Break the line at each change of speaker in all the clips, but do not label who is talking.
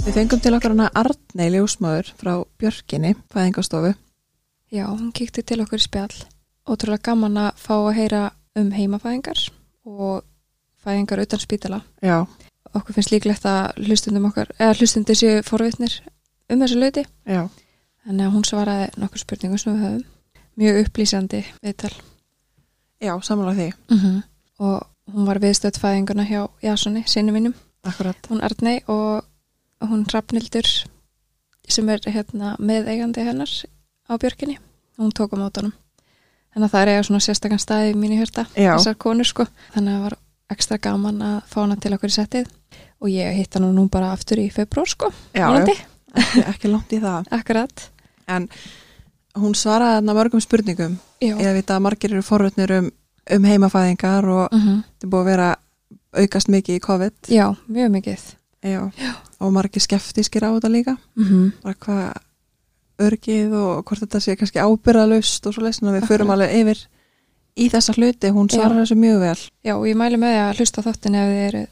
Við fengum til okkar hana Arnei Ljósmaður frá Björkinni, fæðingastofu.
Já, hún kíkti til okkur í spjall. Ótrúlega gaman að fá að heyra um heimafæðingar og fæðingar utan spítala.
Já,
Okkur finnst líklegt að hlustundum okkar, eða hlustundir séu forvitnir um þessu löti.
já.
Þannig að hún svaraði nokkur spurningum sem við höfum. Mjög upplýsandi viðtal.
Já, samanlega því.
Mm -hmm. Og hún var viðstöðt fæðinguna hjá Jasoni, sinni mínum.
Akkurat.
hún Arnei og hún Rafnildur sem er hérna meðeigandi hennar á björkinni hún tók á mótunum þannig að það er eiga svona sérstakann staði í mínu hjörta
Já.
þessar konur sko þannig að það var ekstra gaman að fá hana til okkur í settið og ég hitt hana nú bara aftur í februar sko
Já,
vonandi,
ekki, ekki langt í það.
akkurat
Hún svaraði hana mörgum spurningum.
já,
Ég veit að margir eru forvötnir um, um heimafæðingar og
mhm,
þetta er búið að vera aukast mikið í COVID.
já mjög mikið
Já. Og margir skeftískir á þetta líka.
mm
Bara hvað örgið og hvort þetta sé kannski ábyrðalust og svo leysna. Við förum alveg yfir í þessa hluti. Hún
Já.
svarar þessu mjög vel.
já, og ég mæli með því að hlusta á þáttin ef þið eru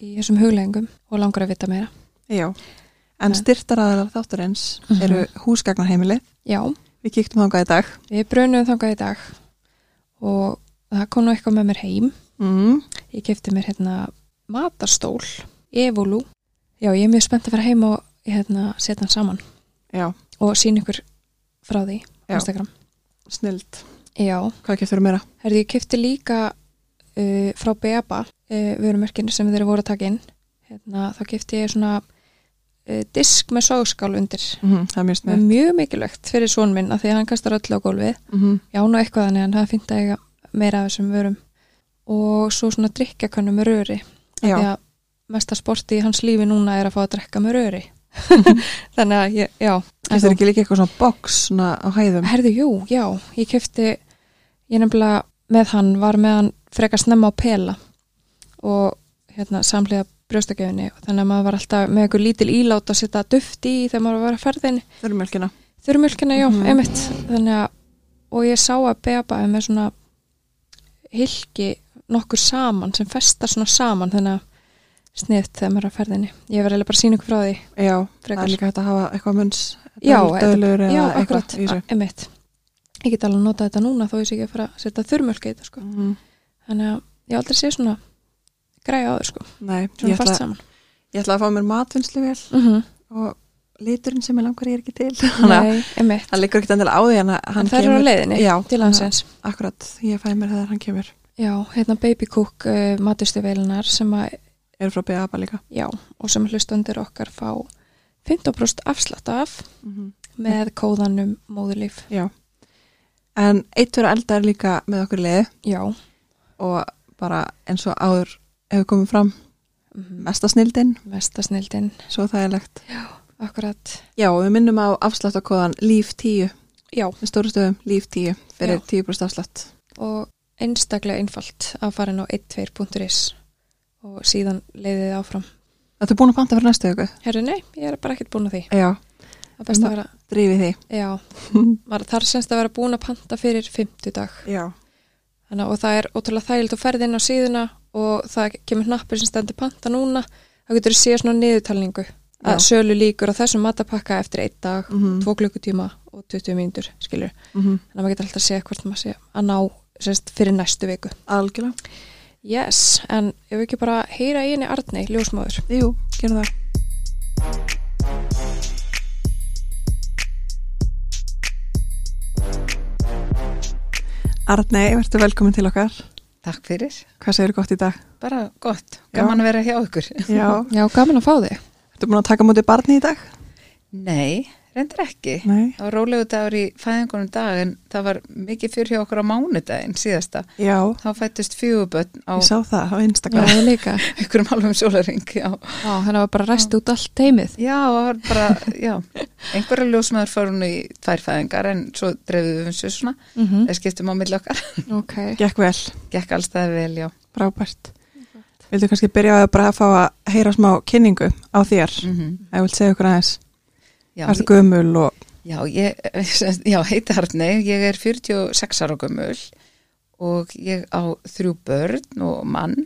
í þessum huglengum og langar að vita meira
Já, en
Ja.
styrtaraðalar þáttarins
Mhm.
eru húsgagnarheimilið.
já,
Við kíktum þangað í dag.
Við brunum þangað í dag og það kom nú eitthvað með mér heim. Mhm.
Mm.
Ég kefti mér hérna matarstól, evolú. Já, ég er mjög spennt að fara heim og hérna, setja hann saman
Já,
og sína ykkur frá því
Já.
á Instagram.
snild.
Já,
Hvað keftur meira?
herði ég kefti líka uh, frá Beba uh, vörumörkinu sem þeir voru að taka inn. Hérna, þá kefti ég svona uh, disk með sógskál undir.
Mm, það er mjög snild.
Með mjög mikilvægt fyrir svon minn að því að hann kastar öllu á gólfið.
Mm.
Já, nú eitthvað þannig en það finnst að eiga meira af þessum vörum og svo svona drikkjakönnu með röri því
Já,
að mesta sporti í hans lífi núna er að fá að drekka með röri þannig að ég, já
þetta er ekki líka eitthvað svona box svona á hæðum.
Herðu, jú, já, ég kefti ég nefnilega með hann var með hann frekar snemma á pela og hérna samlega brjóstakjöfunni þannig að maður var alltaf með einhver lítil ílát að setja duft í þegar maður var að ferðin
Þurrmjölkina.
Þurrmjölkina, já,
Mhm.
einmitt þannig að, og ég sá að Beba er með svona hilki nokkur saman sem festar svona saman þannig að sniðt þegar maður er að ferðinni ég verði bara að sína ykkur frá því
Já, það
frekar
er líka hægt að hafa eitthvað munns.
Já,
dölur
þetta-
eða
já,
eitthvað
akkurat,
í þessu.
a- einmitt ég get alveg að nota þetta núna þó ég sé ekki að fara að setja þurrmjölk í þetta sko.
Mm.
þannig að ég aldrei sé svona græja á þau sko,
Nei,
svona
ég
fast
ætla,
saman
ég ætla að fá mér matvinnslu vel
mm -hmm.
og liturinn sem ég langar ég er ekki til. Þannig að
Nei, einmitt,
hann liggur ekkert endilega á því en að hann
það eru á
kemur.
leiðinni
Já,
til hansins
Akkurat, ég fæ mér þegar hann kemur.
Já, hérna Baby Cook uh, matustuvelunar sem að
Er frá B.A.B.A. líka.
Já, og sem hlustandur okkar fá 15% afslátt af
Mm -hmm.
Mhm. með kóðanum móðurlíf.
Já. En eitt fyrir elda er líka með okkur leið
Já,
og bara eins og áður hefur komið fram mesta snildin,
mesta snildin,
svo það er legt.
akkurat.
Já, og við minnum á afsláttakóðan líf 10,
Já,
með stóru stöðum líf 10 fyrir
Já.
10% afslátt.
og einstaklega einfalt að fara inn á 12.is og síðan leiðið þið áfram.
Þetta er búin að panta fyrir næstu ykkur.
Herru, nei, ég er bara ekkert búin að því.
Já,
Það er best að
Ma-
vera,
drífið því.
já, maður þarf semst að vera búin að panta fyrir 50 dag.
Já.
Þannig, að- og það er ótrúlega þægild að ferð inn á síðuna og það kemur hnappur sem stendur panta núna. Það getur að sé svona niðurtalningu.
Já.
að sölu líkur á þessum matapakka eftir einn dag,
Mm -hmm.
tvo klukkutíma og 20 mínútur, skilur.
Mhm.
Þannig að maður getur alltaf að segja hvort maður sé að ná sérst, fyrir næstu viku.
Algjörlega.
Yes, en ef við ekki bara heyra í henni Arnei, ljósmáður.
Jú, gerum það. Arnei, verður velkomin til okkar.
Takk fyrir.
Hvað segir gott í dag?
Bara gott. Gaman að vera hjá ykkur.
Já,
Já, gaman að fá þig.
ertu búin að taka mútið barni í dag?
Nei, reyndar ekki.
Nei.
Það var rólegu dagur í fæðingunum dag en það var mikið fyrir hjá okkur á mánudaginn síðasta.
Já,
Þá fættust fjögubötn
ég
á
sá það á
Já,
Instagram.
ég líka.
ykkurum halvum sólaring. Já,
Já, hann var bara ræst út allt heimið.
já, það var bara, já, einhverja ljósmaður fór hún í tvær fæðingar en svo drefðum við um svo svona.
Mm
Það skiptum á milli okkar.
Ok.
Gekk vel,
Gekk alls það vel, já.
frábært. Vildu kannski byrja að bara að fá að heyra smá kynningu á þér? Mm.
Mm
Ég vil segja okkur aðeins.
já,
Ertu gömul og...
Já, ég, já, heiti Arnei, ég er 46 ára gömul og ég á þrjú börn og mann.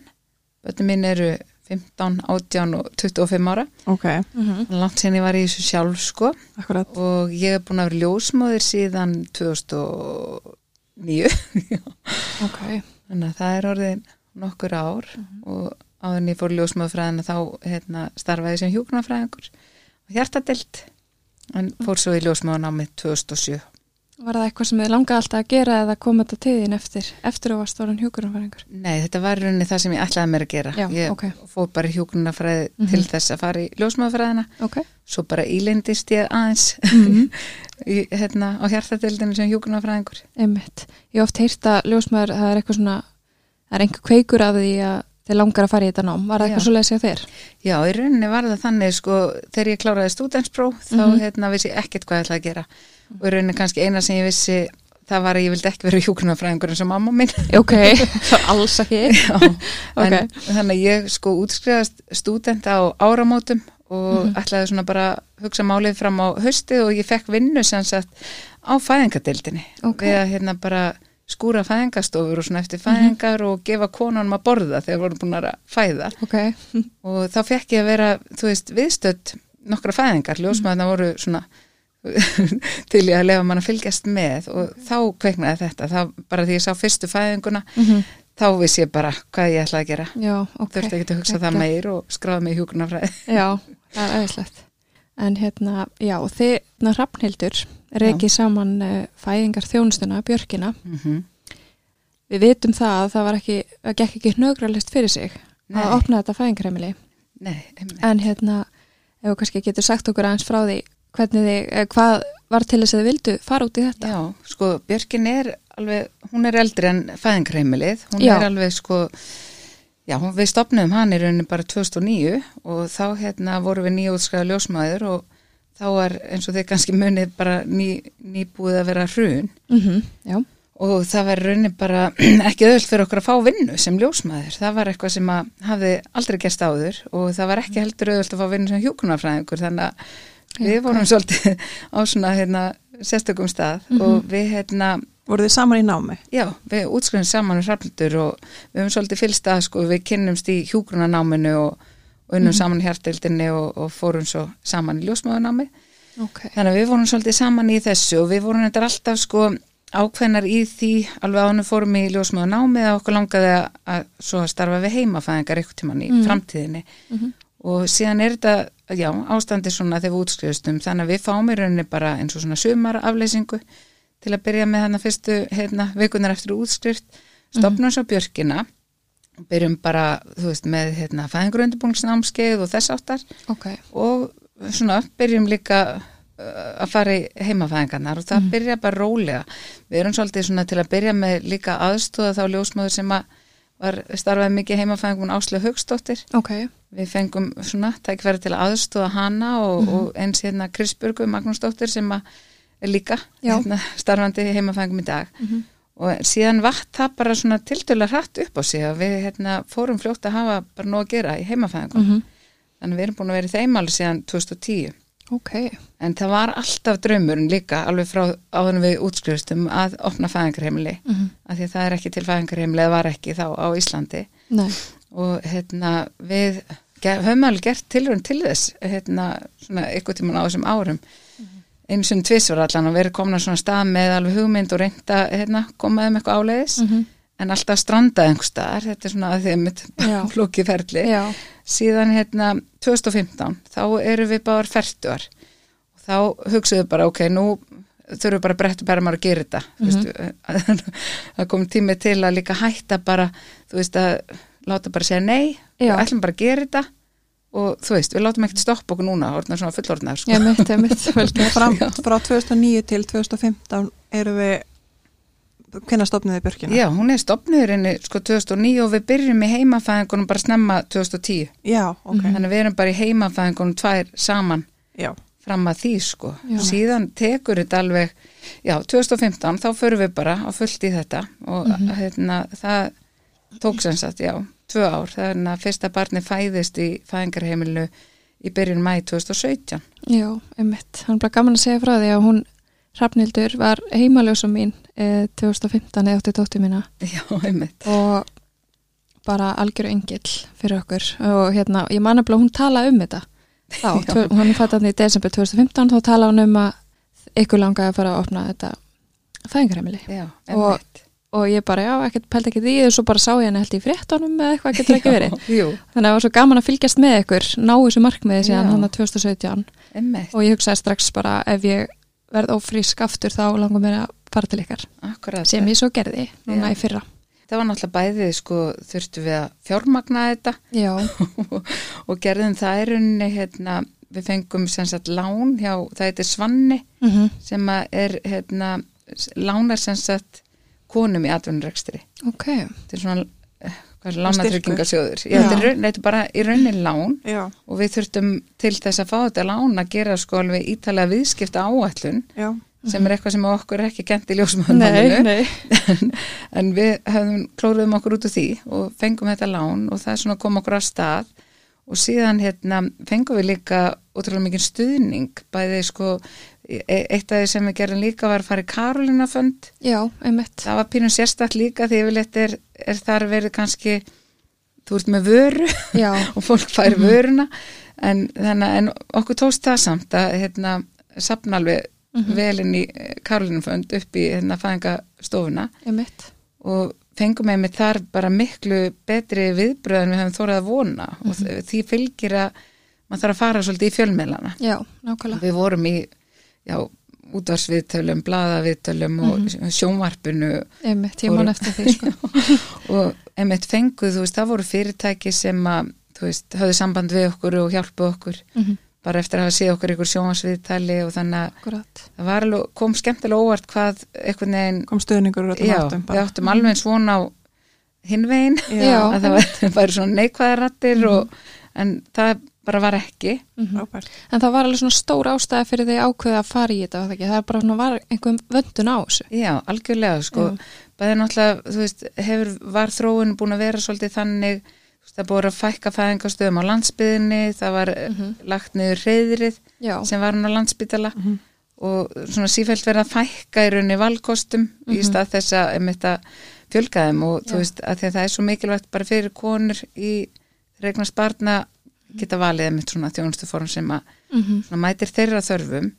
Börnum minn eru 15, 18 og 25 ára
ok,
Mhm.
langt sinni var ég í þessu sjálf sko
akkurat
og ég er búin að vera ljósmóðir síðan 2009
Ok,
þannig að það er orðin nokkur ár og áður en ég fór ljósmóðfræðina þá hérna, starfaði ég sem hjúknarfræðingur og hjartadelt en fór svo í ljósmóðunámið 2007
var það eitthvað sem þið langaði alltaf að gera eða kom þetta til þín eftir, eftir að varst orðin hjúkurumfæringur?
Nei, þetta var í rauninni það sem ég ætlaði mér að gera
Já,
ég
ok. Mhm.
fór bara í hjúknarfræði til þess að fara í ljósmóðfræðina
Ok.
svo bara ílendist ég aðeins
Mhm.
í, hérna, á hjartadeildinu sem hjúknarfræðingur
Einmitt. Ég hef oft heyrt að ljósmaður, það er eitthvað svona, það er einhver kveikur af því að þið langar að fara í þetta nám. Var það eitthvað
Já.
svo leiðis hjá þér?
Já, í rauninni var það þannig sko þegar ég kláraði stúdenspróf þá
Mhm.
hérna vissi ég ekkert hvað ég ætlaði að gera og í rauninni kannski eina sem ég vissi það var að ég vildi ekki vera hjúknarfræðingur eins og mamma minn
Ok, alls ekki.
Já, en, þannig að ég sko útskriðast stúdent á áramótum og ætlaði svona bara að hugsa málið fram á haustið og ég fekk vinnu sem sagt á fæðingadeildinni
Ok.
við að hérna bara skúra fæðingastofur og svona eftir fæðingar og gefa konunum að borða þegar voru búin að fæða
Ok,
og þá fekk ég að vera, þú veist, viðstödd nokkra fæðingar, ljósmaðurna voru svona til ég að lefa mann að fylgjast með og þá kveiknaði þetta, þá bara því ég sá fyrstu fæðinguna, þá vissi ég bara hvað ég ætlaði að gera,
já, ok.
þurfti ekki að hugsa það
Geggjað.
meir og skráða mig í hjúknarfræði
Já, það er aðeinslegt. En hérna, já, þið, ná, Rafnhildur, reikið saman uh, fæðingar þjónustuna, Björkina.
mm -hmm.
Við vitum það að það var ekki, það gekk ekki hnögralist fyrir sig að
Nei.
opna þetta fæðingarheimili.
Nei, einmitt.
En hérna, ef þú kannski getur sagt okkur aðeins frá því hvernig þið, eh, hvað var til þess að þið vildu fara út í þetta?
Já, sko, Björkin er alveg, hún er eldri en fæðingreimilið, hún
Já.
er alveg sko, já, hún- við stopnum hann í rauninni bara 2009 og þá hérna voru við nýjútskræða ljósmaður og þá var eins og þið kannski munið bara ný, nýbúið að vera hrun
Mm já.
og það var í rauninni bara ekki öðvöld fyrir okkur að fá vinnu sem ljósmaður, það var eitthvað sem að hafði aldrei gerst áður og það var ekki heldur öðvöld að fá vinnu sem hjúkunarfræðingur þannig að við vorum svolítið á svona hérna, sérstökum stað og við hérna
voruð þið saman í námi?
Já, við útskriðum saman um hrafnildur og við höfum svolítið fylst að sko við kynnumst í hjúgrunanáminu og og unnum saman í hjartildinni og, og fórum svo saman í ljósmaðunámi.
Ok.
Þannig að við vorum svolítið saman í þessu og við vorum þetta alltaf sko ákveðnar í því alveg ánum fórum í ljósmaðunámi að okkur langaði að, að svo að starfa við heimafæðingar eitthvað tíman í framtíðinni
Mhm.
og síðan er þetta, já, ástandi svona þegar við útskriðustum þannig að við fáum í rauninni bara eins og svona sumar til að byrja með þarna fyrstu hérna, vikunar eftir útskrift stopnum svo björkina og byrjum bara, þú veist, með hérna, fæðingröndubungsnámskeið og þess áttar
Ok.
og svona byrjum líka uh, að fara í heimafæðingarnar og það byrja bara rólega við erum svolítið svona til að byrja með líka aðstóða þá ljósmaður sem að var starfaði mikið í heimafæðingun Áslu Haugsdóttir
Ok.
við fengum svona tækverði til aðstóða hana og, og eins hérna Krisbjörgu Magnúsdóttir sem að er líka
Já.
hérna, starfandi heimafæðingum í dag og síðan vatt það bara svona tildulega hratt upp á sig og við hérna, fórum fljótt að hafa bara nóg að gera í heimafæðingum
Mhm.
þannig að við erum búin að vera í þeim alveg síðan 2010
Ok.
en það var alltaf draumurinn líka alveg frá áðunum við útskrifstum að opna fæðingarheimili
Mm
af því að það er ekki til fæðingarheimili eða var ekki þá á Íslandi
Nei.
og hérna við ge- höfum alveg gert tilraun til þess hérna svona ykkur tíman á þessum árum
Mhm.
eins og tvisvar allan og verið komna svona stað með alveg hugmynd og reynda hérna komaðum eitthvað áleiðis
Mm -hmm.
en alltaf strandað einhver staðar þetta er svona að því að
Já.
mitt flóki ferli
Já.
síðan hérna 2015 þá eru við bara færtuar og þá hugsaðu bara ok, nú þurfum við bara að bretta bermar að gera þetta mm -hmm. það kom tími til að líka hætta bara, þú veist að láta bara segja nei,
Já.
við ætlum bara að gera þetta og þú veist, við látum ekkert stoppa okkur núna, orðna svona fullorðnar sko.
Ég mitt, ég mitt. Vel gert.
Fram, frá 2009 til 2015 eru við hvenær stopnið þið björkina?
Já, hún er stopnurinni sko 2009 og við byrjum í heimafæðingunum bara snemma 2010
Já, ok.
þannig að við erum bara í heimafæðingunum tvær saman
Já,
fram að því sko
Já.
síðan tekur þetta alveg já, 2015 þá förum við bara á fullt í þetta og
Mhm.
hérna, það tók sem sagt, já, tvö ár þannig að fyrsta barni fæðist í fæðingarheimilu í byrjun mæ 2017
Já, einmitt. Hann er bara gaman að segja frá því að hún, Rafnhildur, var heimaljósa mín eh, 2015 eða 88 mína
já, einmitt
og bara algjör engill fyrir okkur og hérna, ég man að hún talaði um þetta þá,
Já.
tvö- hún fætti hann í desember 2015 þá talaði hún um að ykkur langaði að fara að opna þetta fæðingarheimili
Já,
Og- og ég bara, já, ekkert pælt ekki því og svo bara sá ég henni held í fréttunum eða eitthvað getur ekki verið
Jú,
þannig að það var svo gaman að fylgjast með ykkur ná þessu markmiði síðan
Já.
hann að 2017
emmitt,
og ég hugsaði strax bara ef ég verð ófrísk aftur þá langar mér að fara til ykkar
akkurat.
sem ég svo gerði núna
Já.
í fyrra
Það var náttúrulega bæðið, sko, þurftum við að fjármagna þetta
já,
og gerðum það í rauninni, hérna, við fengum sem sagt lán hjá, það heitir Svanni
mm
sem að er, hérna, s- lánar sem sagt konum í atvinnurekstri.
ok
Þetta er svona, eh, hvað er
Styrkur.
lánatryggingasjóður? Já, þetta er,
Já.
raun- þetta er bara í rauninni lán
Já,
og við þurftum til þess að fá þetta lán að gera sko alveg ítalega viðskipta áætlun
já,
sem er eitthvað sem okkur er ekki gent í
nei,
ljósmaðurmálinu
nei.
en, en við höfum klóruðum okkur út úr því og fengum þetta lán og það er svona kom okkur af stað og síðan hérna fengum við líka ótrúlega mikið stuðning bæði sko e- eitt af því sem við gerum líka var að fara í Karolinafönd
já, einmitt
það var pínum sérstakt líka því yfirleitt er, er þar verið kannski þú ert með vöru
já,
og fólk fær vöruna en, þannig, að- en okkur tókst það samt að hérna, sapna alveg velin í Karolinumfönd upp í hérna, fæðingastofuna
einmitt
og fengum með þar bara miklu betri viðbröð en við hefum þórað að vona og þ- því fylgir að maður þarf að fara svolítið í fjölmiðlana
já, nákvæmlega
við vorum í já, útvarsviðtölum, blaðaviðtölum og sjónvarpinu
einmitt, ég man
Voru-
eftir því sko.
og emitt fenguð, þú veist, það voru fyrirtæki sem að, þú veist, höfðu samband við okkur og hjálpuð okkur
Mhm.
bara eftir að hafa séð okkur ykkur sjónvarsviðtali og þannig að
akkurat
það var alveg, kom skemmtilega óvart hvað einhvern veginn,
kom stöðningur úr öllum
já,
áttum
við
bara.
áttum alveg eins von á hinvegin,
Já.
að það væri- væri svona neikvæðar rattir og, en það bara var ekki
frábært.
Mhm. en það var alveg svona stór ástæða fyrir því ákveða að fara í þetta var það, ekki? það er bara svona var einhver vöndun á þessu
Já, algjörlega sko, bæði náttúrulega, þú veist, hefur, var þróun búin að vera svolítið þannig, þú veist, það búið að fækka fæðingastöðum á landsbyðinni, það var mm lagt niður reyðrið
já,
sem var hann á landsbytala og svona sífælt verið að fækka í rauninni valkostum í stað þess að einmitt að fjölga þeim og þú
Já.
veist, að því að það er svo mikilvægt bara fyrir konur í regna sparna geta valið einmitt svona þjónustuform sem að
Mhm.
svona mætir þeirra þörfum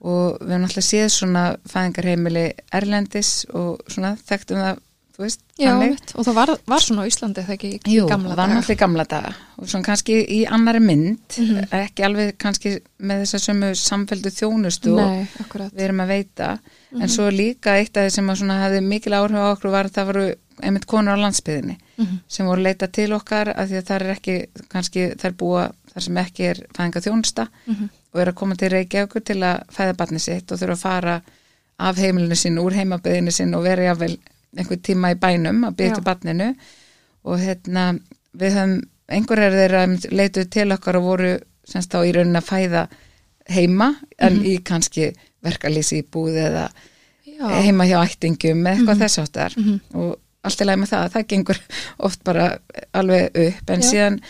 og við höfum alltaf séð svona fæðingarheimili erlendis og svona þekktum það, þú veist,
já einmitt, og það var, var svona á Íslandi þegar ekki í
Jú,
gamla
það var
daga
náttúrulega í gamla daga og svona kannski í annari mynd
Mhm.
ekki alveg kannski með þess að sömu samfældu þjónustu og
nei, Mhm. akkurat
sko. við erum að veita en svo líka eitt af því sem að svona hafði mikil áhrif á okkur var að það voru einmitt konur á landsbyðinni
Mhm.
sem voru leita til okkar af því að það er ekki kannski þær búa þar sem ekki er fæðinga þjónusta
Mhm.
og er að koma til Reykjavíkur til að fæða barni sitt og þurfa að fara af heimilinu sín, úr heimabyðinu sín og vera jáfnvel einhver tíma í bænum að
Já.
byrja til barninu og hérna við höfum einhverjar þeirra einmitt leituðu til okkar og voru semst þá í raunin að fæða heima en
Mhm.
í kannski verkalýsi í búð eða
já,
heima hjá ættingum með eitthvað þess áttar
Mhm.
og allt er læg með það, það gengur oft bara alveg upp en
Já.
síðan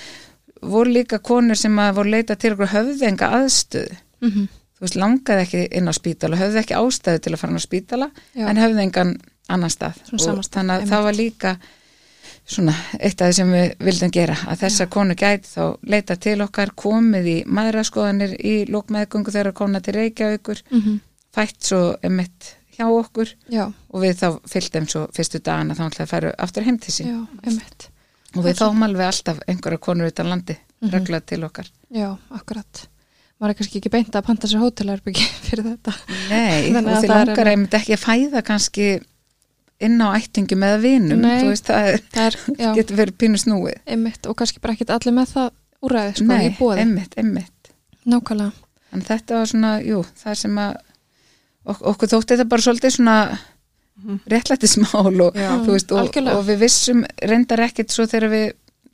voru líka konur sem að voru leita til okkur höfðu enga aðstöð
mhm,
þú veist, langaði ekki inn á spítala höfðu ekki ástæðu til að fara inn á spítala
Já.
en höfðu engan annan stað
Svona
Og
sama stað,
þannig að
einmitt.
það var líka svona eitt af því sem við vildum gera að þessar konur gæti þá leita til okkar komið í maðuraskoðanir í lókmeðgöngu þegar komna til Reykjavíkur
mhm,
fætt svo emitt hjá okkur
já
og við þá fylgdum svo fyrstu dagana þá ætlaði að færu aftur heim til sín
Já, einmitt.
og við fáum alveg alltaf einhverja konur utan landi
Mhm.
mm til okkar.
Já, akkurat. Maður er kannski ekki beint að panta sér hótelherbyggi fyrir þetta.
Nei,
Þannig
og
að
því
það er
langar einmitt ekki að fæða kannski inn á ættingum eða vinum,
Nei.
þú veist það er,
Það er, já,
getur verið pínu snúið.
einmitt og kannski bara ekkit allir með það úræði, sko,
Nei,
í bóði.
einmitt, einmitt.
Nákvæmlega.
En þetta var svona, jú, það sem að ok okkur þótti þetta bara svolítið svona réttlættismál og,
Já.
þú veist, og,
Mhm. Algjörlega.
og við vissum reyndar ekkit svo þegar við,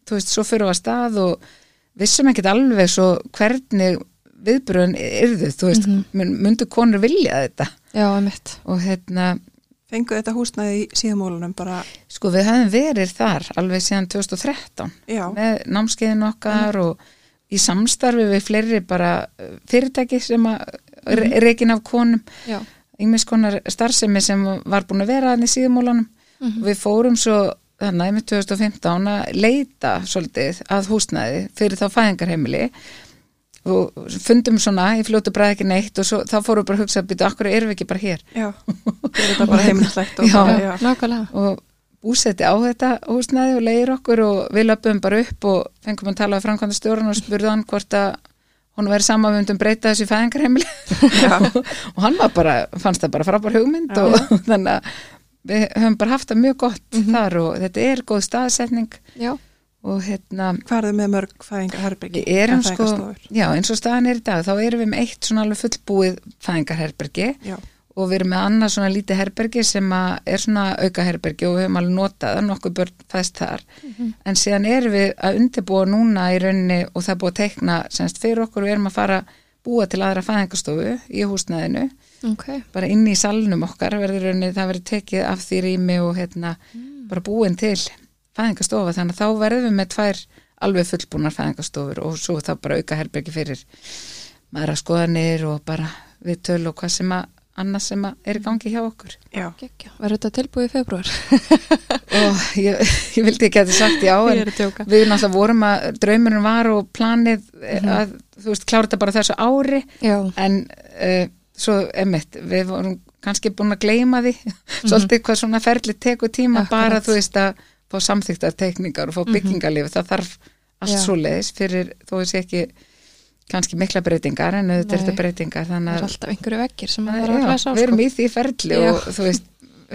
þú veist, svo fyrir á að stað og vissum ekkit alveg svo hvernig viðbröðin yrðu, þú veist, mm
Mhm.
myndu konur vilja þetta
Já, einmitt.
og hérna,
Fenguð þetta húsnæði í síðumólunum bara,
sko við höfum verið þar alveg síðan 2013
já,
með námskeiðin okkar og í samstarfi við fleiri bara eh, fyrirtæki sem að mm. reikin af konum
Já,
yngmis konar starfsemi sem var búin að vera hann í síðumólanum
Mhm.
við fórum svo þannig að 2015 að leita svolítið að húsnæði fyrir þá fæðingarheimili og fundum svona, ég fljótu bara ekki neitt og svo, þá fórum við bara að hugsa að byrja, akkur erum við ekki bara hér
já, það er þetta bara heimilislegt og
Já.
bara, já,
já, nákvæmlega
og búsetti á þetta húsnæði og leiðir okkur og við löpum bara upp og fengum að tala við framkvæmda stjórn og spurði hann hvort að hún væri sama við myndum breyta þessu fæðingarheimili
Já.
og hann var bara, fannst það bara frábær hugmynd
Já.
og þannig að við höfum bara haft það mjög gott
Mhm.
þar og þetta er góð staðsetning
já,
og hérna
hvað er þið með mörg fæðingarherbyggi?
Við erum sko, já eins og staðan er í dag þá erum við með eitt svona alveg fullbúið fæðingarherbergi
Já,
og við erum með annað svona lítið herbergi sem að er svona aukaherbergi og við höfum alveg notað að nokkuð börn fæst þar en síðan erum við að undirbúa núna í rauninni og það er búið að teikna semst fyrir okkur og við erum að fara að búa til aðra fæðingarstofu í húsnæðinu
ok
bara inn í salnum okkar verður rauninni það verður tekið af því rými og hérna
Mm.
bara búin til fæðingastofa þannig að þá verðum við með tvær alveg fullbúnar fæðingastofur og svo þá bara auka herbergi fyrir maður að skoðanir og bara við töl og hvað sem að annars sem að er í gangi hjá okkur
já,
Gekja. verður þetta tilbúið í februar
og ég, ég vildi ekki að þetta sagt já
ég
en
er að djóka
við náttúrulega vorum að draumurinn var og planið
Mhm.
mm. að þú veist klára þetta bara á þessu ári
já,
en uh, svo emitt, við vorum kannski búin að gleyma því svolítið hvað svona ferli tekur
Mhm.
tíma
Akkurat. Mhm.
bara þú veist að fá samþyktar tekningar og fá byggingalíf, það þarf allt
Já.
svo leiðis fyrir þó þessi ekki kannski mikla breytingar en auðvitað er
Nei.
þetta breytingar þannig
það er
að
alltaf einhverju vekkir sem maður þarf að
uh, já,
læsa á
við erum
sko.
í því ferli
Já.
og þú veist,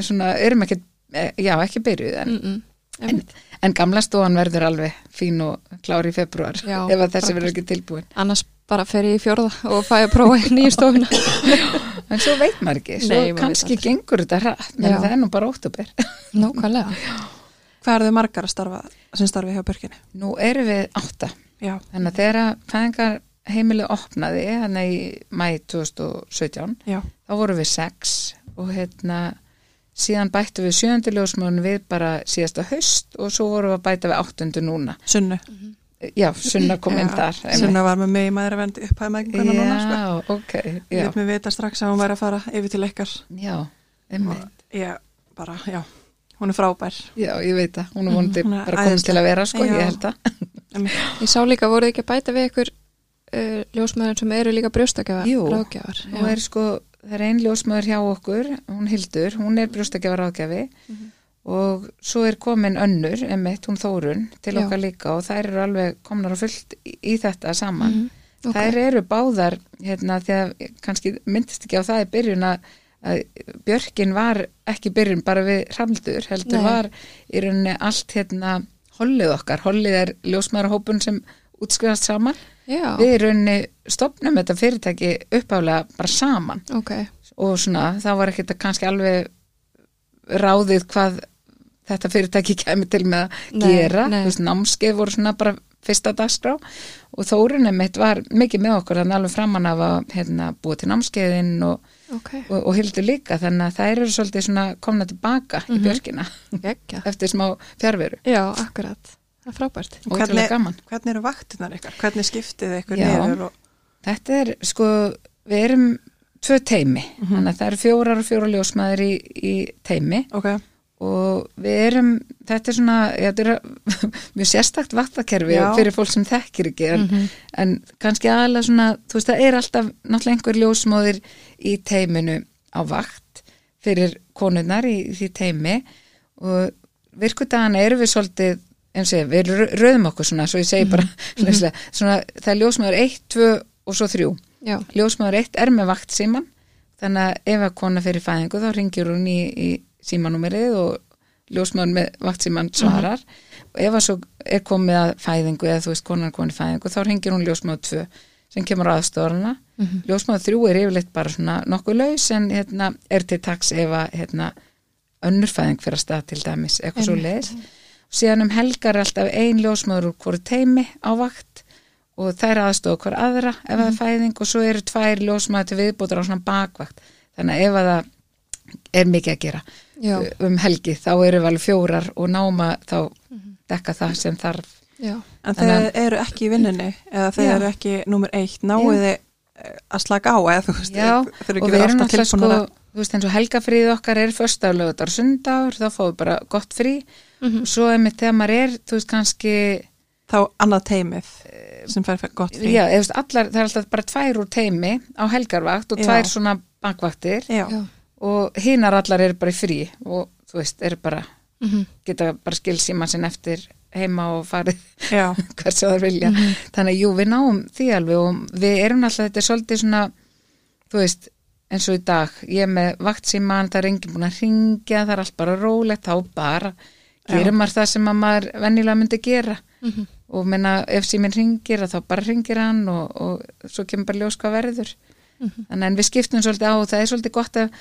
svona erum ekki eh, já, ekki byrjuð en,
mm -mm.
en, en gamla stóðan verður alveg fín og klár í februar
Já,
ef að þessi
frábært.
verður ekki tilbúin
annars bara fer ég í fjórða og fæ að prófa nýju stofuna
en svo veit maður ekki, svo
Nei, maður veit
kannski
aldrei.
gengur þetta rætt, menn
Já.
það er nú bara óttubir
nákvæmlega
hvað er þið margar að starfa sem starfi hjá börginni?
Nú erum við átta,
Já,
þannig að þegar fæðingar heimilið opnaði, hann í mæ 2017,
já,
þá vorum við sex og hérna síðan bættu við sjöndi ljósmöðun við bara síðasta haust og svo vorum við að bæta við áttundu núna.
sunnu
Já, Sunna kom inn
Já,
þar. einmitt.
Sunna var með mig í maður að vendi upphæða með einhvern veginn núna sko.
Já, ok,
Ég
já,
lét mig vita strax að hún væri að fara yfir til ykkar
já, einmitt.
Ég bara, já, hún er frábær
Já, ég veit það, hún er vonandi
Mm, Hún er
bara komin til að vera sko,
Já.
ég held það.
Ég sá líka, voruð þið ekki að bæta við ykkur uh, ljósmaður sem eru líka brjóstakjafa
Jú.
ráðgjafar?
Nú er sko, það er ein ljósmöður hjá okkur, hún Hildur, hún er brjóstakjafa ráðgjafi
Mhm.
og svo er komin önnur, emitt, hún Þórun, til
Já.
okkar líka og þær eru alveg komnar á fullt í, í þetta saman.
Mhm. Ok.
Þær eru báðar, hérna, því að kannski myndist ekki á það í byrjun að, að Björkin var ekki í byrjun bara við Hraldur, heldur
Nei.
var í rauninni allt, hérna, hollið okkar, hollið er ljósmaðurhópun sem útskrifast saman
Já,
við í rauninni stopnum þetta fyrirtæki uppálega bara saman
ok,
og svona það var ekkert að kannski alveg ráðið hvað þetta fyrirtæki kemur til með að
Nei,
gera,
nei.
þú veist námskeið voru svona bara fyrsta dagskrá og þórunum mitt var mikið með okkur þannig alveg framan af að hérna, búa til námskeiðin og,
ok,
og, og hildu líka þannig að þær eru svolítið svona komna tilbaka
Mhm.
í björkina
geggja.
eftir smá fjárveru
Já, akkurat, það er frábært.
og þetta
Hvernig-
er gaman
Hvernig eru vaktinnar ykkar? Hvernig skiptið þið ykkur
Já.
niður? Og,
Þetta er sko, við erum tvö teimi, þannig að það eru fjórar og fjórar ljósmaður í, í teimi
ok,
og við erum, þetta er svona, já, þetta er mjög sérstakt vattakerfi
Já.
fyrir fólk sem þekkir ekki en, en kannski aðalega svona, þú veist það er alltaf náttúrulega einhver ljósmaður í teiminu á vakt fyrir konunnar í, því teimi og virkudagana erum við svolítið eins og ég, við rö- röðum okkur svona, svo ég segi bara lauslega, svona, það er ljósmaður 1, 2 og svo 3
Já,
ljósmaður eitt er með vakt síman þannig að ef að kona fyrir fæðingu þá ringir hún í, í símanúmerið og ljósmaður með vakt síman svarar og ef að svo er komið að fæðingu eða þú veist konan er komin í fæðingu þá ringir hún ljósmaður tvö sem kemur aðstofana mm ljósmaður þrjú er yfirleitt bara svona nokkuð laus en hérna er til taks ef að hérna önnur fæðing fyrir að stað til dæmis eitthvað svo leiðis síðan um helgar er alltaf ein ljósmaður úr hverju teimi á vakt og þær aðstofa hver aðra ef það
Mhm.
er fæðing og svo eru tvær ljósmaður til viðbótur á svona bakvakt þannig að ef að það er mikið að gera
Já.
um helgi þá eru við alveg fjórar og náma þá dekka það sem þarf
já,
en
Þannig að-
þegar þið eru ekki í vinninni eða þegar
Já.
þið eru ekki nummer eitt náuð þið eh, að slaka á eða þú veist,
Já,
þið- þið eru
og
ekki
við
verið
erum
alltaf
alltaf sko
tilbúin að
við þú veist eins og helgafríð okkar er fösta og lögutar sundagur, þá fáum við bara gott frí
Mhm.
og svo einmitt þegar maður er þú veist kannski,
Þá annað teimið sem fær fær gott frí.
Eh, já, eða, þú veist, allar, það er alltaf bara tvær úr teimi á helgarvakt og
Já.
tvær svona bakvaktir
Já.
Já.
og hinar allar eru bara í frí og þú veist, eru bara
Mhm.
geta bara skilsíma sinn eftir heima og farið
Já.
hversu það vilja þannig að jú, við náum því alveg og við erum alltaf, þetta er svolítið svona þú veist, eins og í dag ég er með vaktsíman, það er enginn búin að ringja það er allt bara rólegt, þá bara gerir maður það sem að maður venjulega myndi gera
Mhm.
og menna ef síminn ringir, að þá bara ringir hann og, og svo kemur bara ljós hvað verður
Mhm.
þannig en við skiptum svolítið á og það er svolítið gott að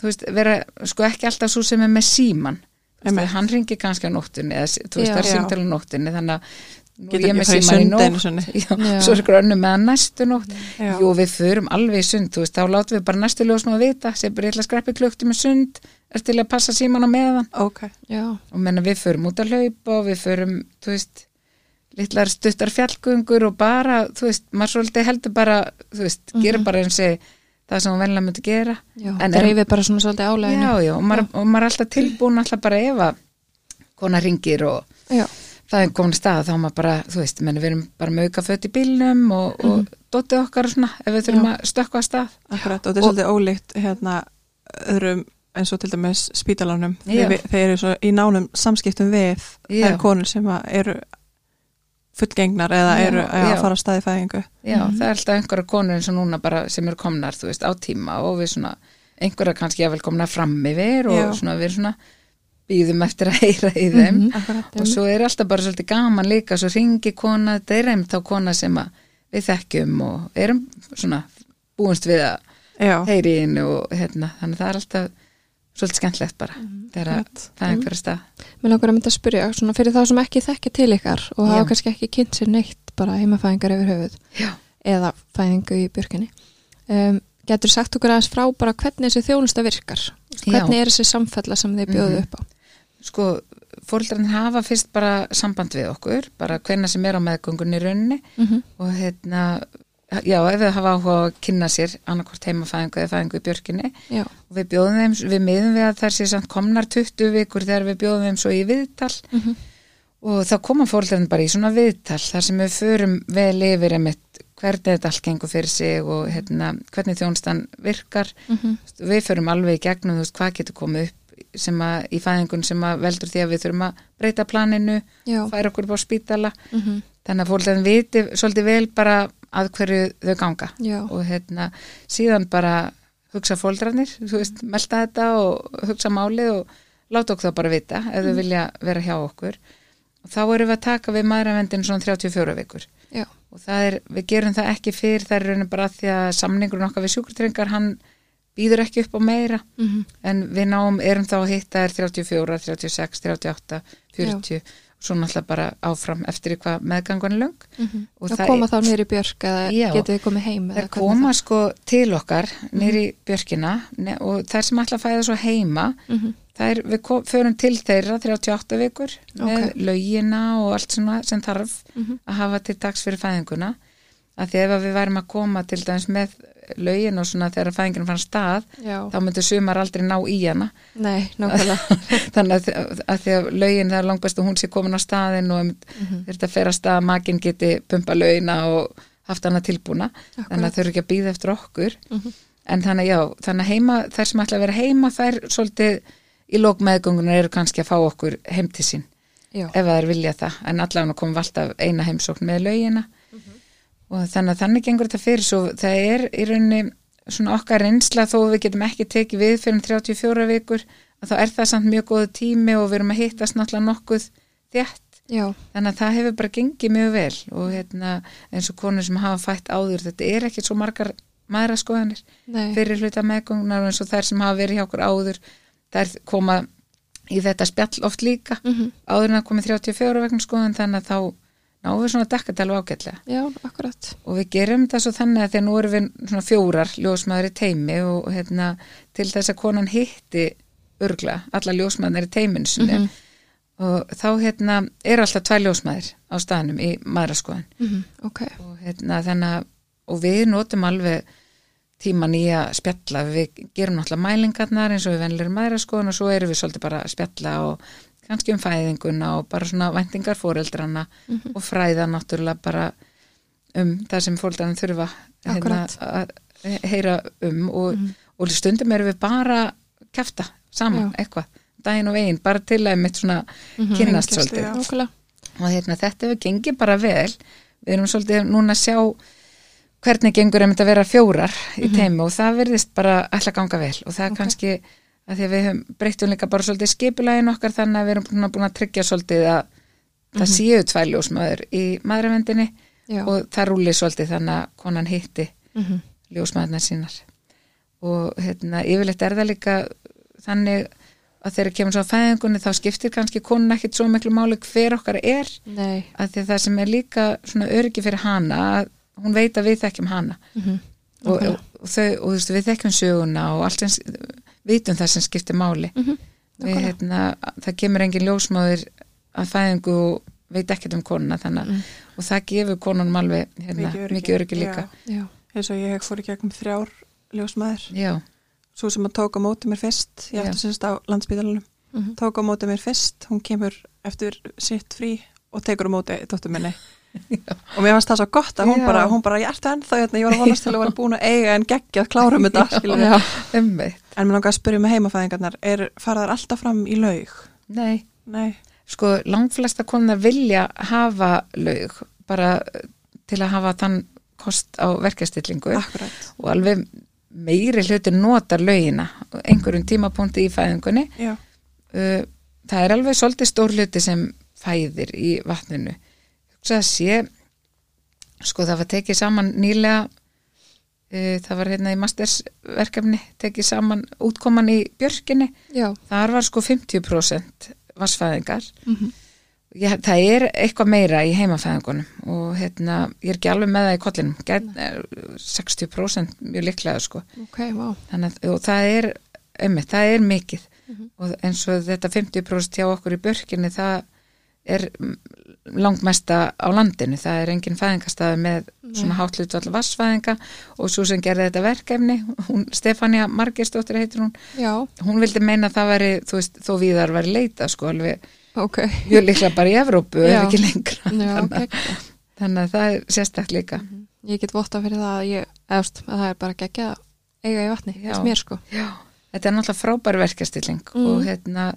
þú veist, vera sko ekki alltaf svo sem er með síman Þú veist,
Einmitt.
að hann ringir kannski á nóttunni eða þú veist,
Já.
það er
Já.
símtal á nóttunni þannig að nú er
Getur
ég
ekki
með
farið í
síman
sund
í
einu
nótt
sinni.
já,
Já.
svo er ykkur önnum með að næstu nótt
Já.
jú, við förum alveg í sund þú veist, þá látum við bara næstu ljósma að vita sem bara ég ætla að skreppi klukti með sund er til að passa síman á meðan
Ok.
Já.
og menna við förum út að hlaupa og við förum, þú veist litlar stuttar fjallgöngur og bara þú veist, maður svolítið heldur bara þú veist, mm bara eins og það sem hún venlega myndi gera
Já.
En-
Dreifið bara svona svolítið álæðinu.
já, já, og maður, og maður er alltaf tilbúin alltaf bara ef að kona ringir og
Já.
það er komin stað þá er maður bara, þú veist, menn við erum bara með auka fött í bílnum og, og dottið okkar og svona, ef við þurfum að stökkva að stað
Akkurat, og þetta er svolítið ólíkt hérna öðrum eins og til dæmis spítalanum
Já.
þeir, vi- þeir eru svo í nánum samskiptum við
Já.
þær konur sem að eru fullgengnar eða
Já,
eru að
já.
fara að staði fæðingu
já, það er alltaf einhverja konur eins og núna bara sem eru komnar, þú veist, á tíma og við svona, einhverja kannski að vel komna fram yfir og
Já.
svona við svona býðum eftir að heyra í þeim
Mhm.
Akkurat,
og svo er alltaf bara svolítið gaman líka svo ringi kona, þetta er einmitt þá kona sem að við þekkjum og erum svona búinst við að
já,
heyri inn og hérna, þannig að það er alltaf svolítið skemmtlegt bara þegar að
Akkurat.
það er einhverja stað
Mér Mhm. langar að mynda að spyrja, svona fyrir þá sem ekki þekkja til ykkar og hafa
Já.
kannski ekki kynnt sér neitt bara heimafæðingar yfir höfuð
Já.
eða fæðingu í björkinni. Um, getur sagt okkur aðeins frá bara hvernig þessi þjónusta virkar? Hvernig er þessi samfella sem þið
Mhm.
bjóðu upp á?
sko, fóreldrarnir hafa fyrst bara samband við okkur, bara hvena sem er á meðgöngunni í rauninni
Mhm.
og hérna, já, ef þau hafa áhuga á að kynna sér annarkvort heimafæðingu eða fæðingu í björkinni
Já.
og við bjóðum þeim, við miðum við að þær sé samt komnar 20 vikur þegar við bjóðum þeim svo í viðtal
Mhm.
og þá koma fóreldrarnir bara í svona viðtal þar sem við förum vel yfir emitt hvernig þetta allt gengur fyrir sig og hérna, hvernig þjónstan virkar
Mm -hmm.
Þú veist, við förum alveg í gegnum þú veist, hvað getur komið upp sem að, í fæðingun sem að veldur því að við þurfum að breyta planinu,
Já.
færa okkur upp á spítala
Mm -hmm.
þannig að fólklegin viti svolítið vel bara að hverju þau ganga
Já.
og hérna, síðan bara hugsa fóldrarnir, þú veist, melta þetta og hugsa málið og láta okkur það bara vita ef þau vilja vera hjá okkur og þá erum við að taka við maðuravendin svona 34 vikur
Já.
og það er, við gerum það ekki fyrir það er raunin bara af því að samningurinn okkar við sjúkurtrengar hann býður ekki upp á meira
Mm
en við náum, erum þá að hitta er 34, 36, 38, 40 og svo náttúrulega bara áfram eftir í hvað meðgangun er löng Og
það
það
Mhm. koma
er-
þá nýri björk eða
Já.
getið þið komið heim? eða
það
hvernig er Mhm.
koma sko til okkar nýri björkina ne, og þær sem ætla að fæða svo heima
það? Mhm.
þær, við kom, förum til þeirra 38 vikur með
Ok.
lögina og allt svona sem þarf
Mhm.
að hafa til dags fyrir fæðinguna að því ef að við værum að koma til dæmis með lögin og svona þegar fæðingin fann stað
Já.
þá myndu sumar aldrei ná í hana
Nei, nákvæmlega.
þannig að, þi- að því að lögin það er langbæst og hún sé komin á staðin og mm -hmm. þetta fer að stað að makin geti pumpa lögina og haft hana tilbúna þannig að þau eru ekki að býða eftir okkur
Mhm.
en þannig að já, þannig að heima þær sem ætla að vera heima þær svolítið í lók meðgöngunar eru kannski að fá okkur heim til sín
Já.
ef að þær vilja það en allavega komum við alltaf eina heimsókn með lögina og þannig að þannig gengur þetta fyrir svo það er í rauninni svona okkar reynsla þó við getum ekki tekið við fyrir um 34 vikur að þá er það samt mjög góðu tími og við erum að hittast náttúrulega nokkuð þjætt
Já.
þannig að það hefur bara gengið mjög vel og hérna, eins og konur sem hafa fætt áður þetta er ekki svo margar maðuraskoðanir
Nei.
fyrir hluta meðgöngunar og eins og þær sem hafa verið hjá okkur áður þær koma í þetta spjall oft líka
Mhm.
áður en að komið 34 vegna skoðan þannig að þá náum við svona að dekka þetta alveg ágætlega
Já, akkurat.
og við gerum þetta svo þannig að þegar nú erum við svona fjórar ljósmaður í teimi og hérna til þess að konan hitti örgla, alla ljósmaðunar í teiminu sinni
Mhm.
og þá hérna er alltaf tvær ljósmaður á staðnum í maðuraskoðan
Mm -hmm. Mhm. Ok.
og hérna þannig að og við notum alveg tíman í að spjalla við gerum náttúrulega mælingarnar eins og við venlir maður skoðan og svo erum við svolítið bara að spjalla og kannski um fæðinguna og bara svona væntingar fóreldrana
Mhm.
og fræða náttúrulega bara um það sem fóreldrarna þurfa hérna,
Akkúrat.
að heyra um og,
Mhm.
og stundum erum við bara að kæfta saman eitthvað daginn og veginn, bara til að mitt svona kynnast
Tengjast
svolítið
Já.
Mhm. Nákvæmlega.
og hérna, þetta hefur gengið bara vel við erum svolítið núna að sjá hvernig gengur einmitt að vera fjórar í teimi og það verðist bara ætla að ganga vel og það er kannski að því að við höfum breyttum líka bara svolítið skipulægin okkar þannig að við erum búin að, búin að tryggja svolítið að það séu tvær ljósmaður í maðuravendinni
Já.
og það rúli svolítið þannig að konan hitti
Mhm.
ljósmaðurnar sínar og hérna, yfirleitt er það líka þannig að þegar kemur svo að fæðingunni þá skiptir kannski konun ekkit svo miklu máli hver okkar er
Nei.
að því að það sem er líka svona öryggi fyrir hana að hún veit að við þekkjum hana
Mhm.
og, og, og, þau, og þú veist, við þekkjum söguna og allt sem vitum það sem skiptir máli
Mhm.
við, hérna, það kemur engin ljósmáður að fæðingu og veit ekkert um konuna þannig
Mhm.
mm. og það gefur konunum alveg hérna, mikið, öryggi. líka
Já.
eins og ég fór í gegnum þrjár ljósmaður
já,
svo sem að tók á móti mér fyrst ég
Já.
ætti sérst á landsbítalunum
Mhm.
tók á móti mér fyrst, hún kemur eftir sitt frí og tekur á móti dóttur minni og mér fannst það svo gott að hún
Já.
bara, hún bara, ég ætti ennþá hérna, ég var að vonast til að vera búin að eiga en geggja að klárum þetta, skilur
Já.
umveitt
en mér langar að spyrja með heimafæðingarnar er faraðar alltaf fram í laug?
nei,
Nei,
sko langflesta konar vilja hafa laug bara eh, til að hafa þann kost á verkastillingu
akkurat
og alveg meiri hluti notar lögina á einhverjum tímapunkti í fæðingunni
Já,
Uh, það er alveg svolítið stór hluti sem fæðir í vatninu hugsa að sé sko það var tekið saman nýlega uh, það var hérna í mastersverkefni tekið saman útkoman í björkinni
Já.
þar var sko 50% vassfæðingar ég, það er eitthvað meira í heimafæðingunum og hérna, ég er ekki alveg með það í kollinum Gæt, eh, 60% mjög líklega sko
Ok, vá.
þannig að og það er einmitt, það er mikið
Mhm.
og eins og þetta 50% hjá okkur í börkinni það er mm, langmesta á landinu, það er engin fæðingastaði með svona hátlut allar vassfæðinga og svo sem gerði þetta verkefni hún, Stefania Margersdóttir heitir hún
Já.
hún vildi meina að það væri, þú veist, þó viðar væri leita sko alveg,
Ok.
mjög líklega bara í Evrópu
Já.
ef ekki lengra
Já,
þannig,
ok.
að- þannig að það er sérstætt líka
Mhm. Ég get votta fyrir það að ég, eðast, að það er bara geggjað að eiga í vatni.
Já.
Það mér sko.
Já, þetta er náttúrulega frábær verkastilling
Mm.
og hérna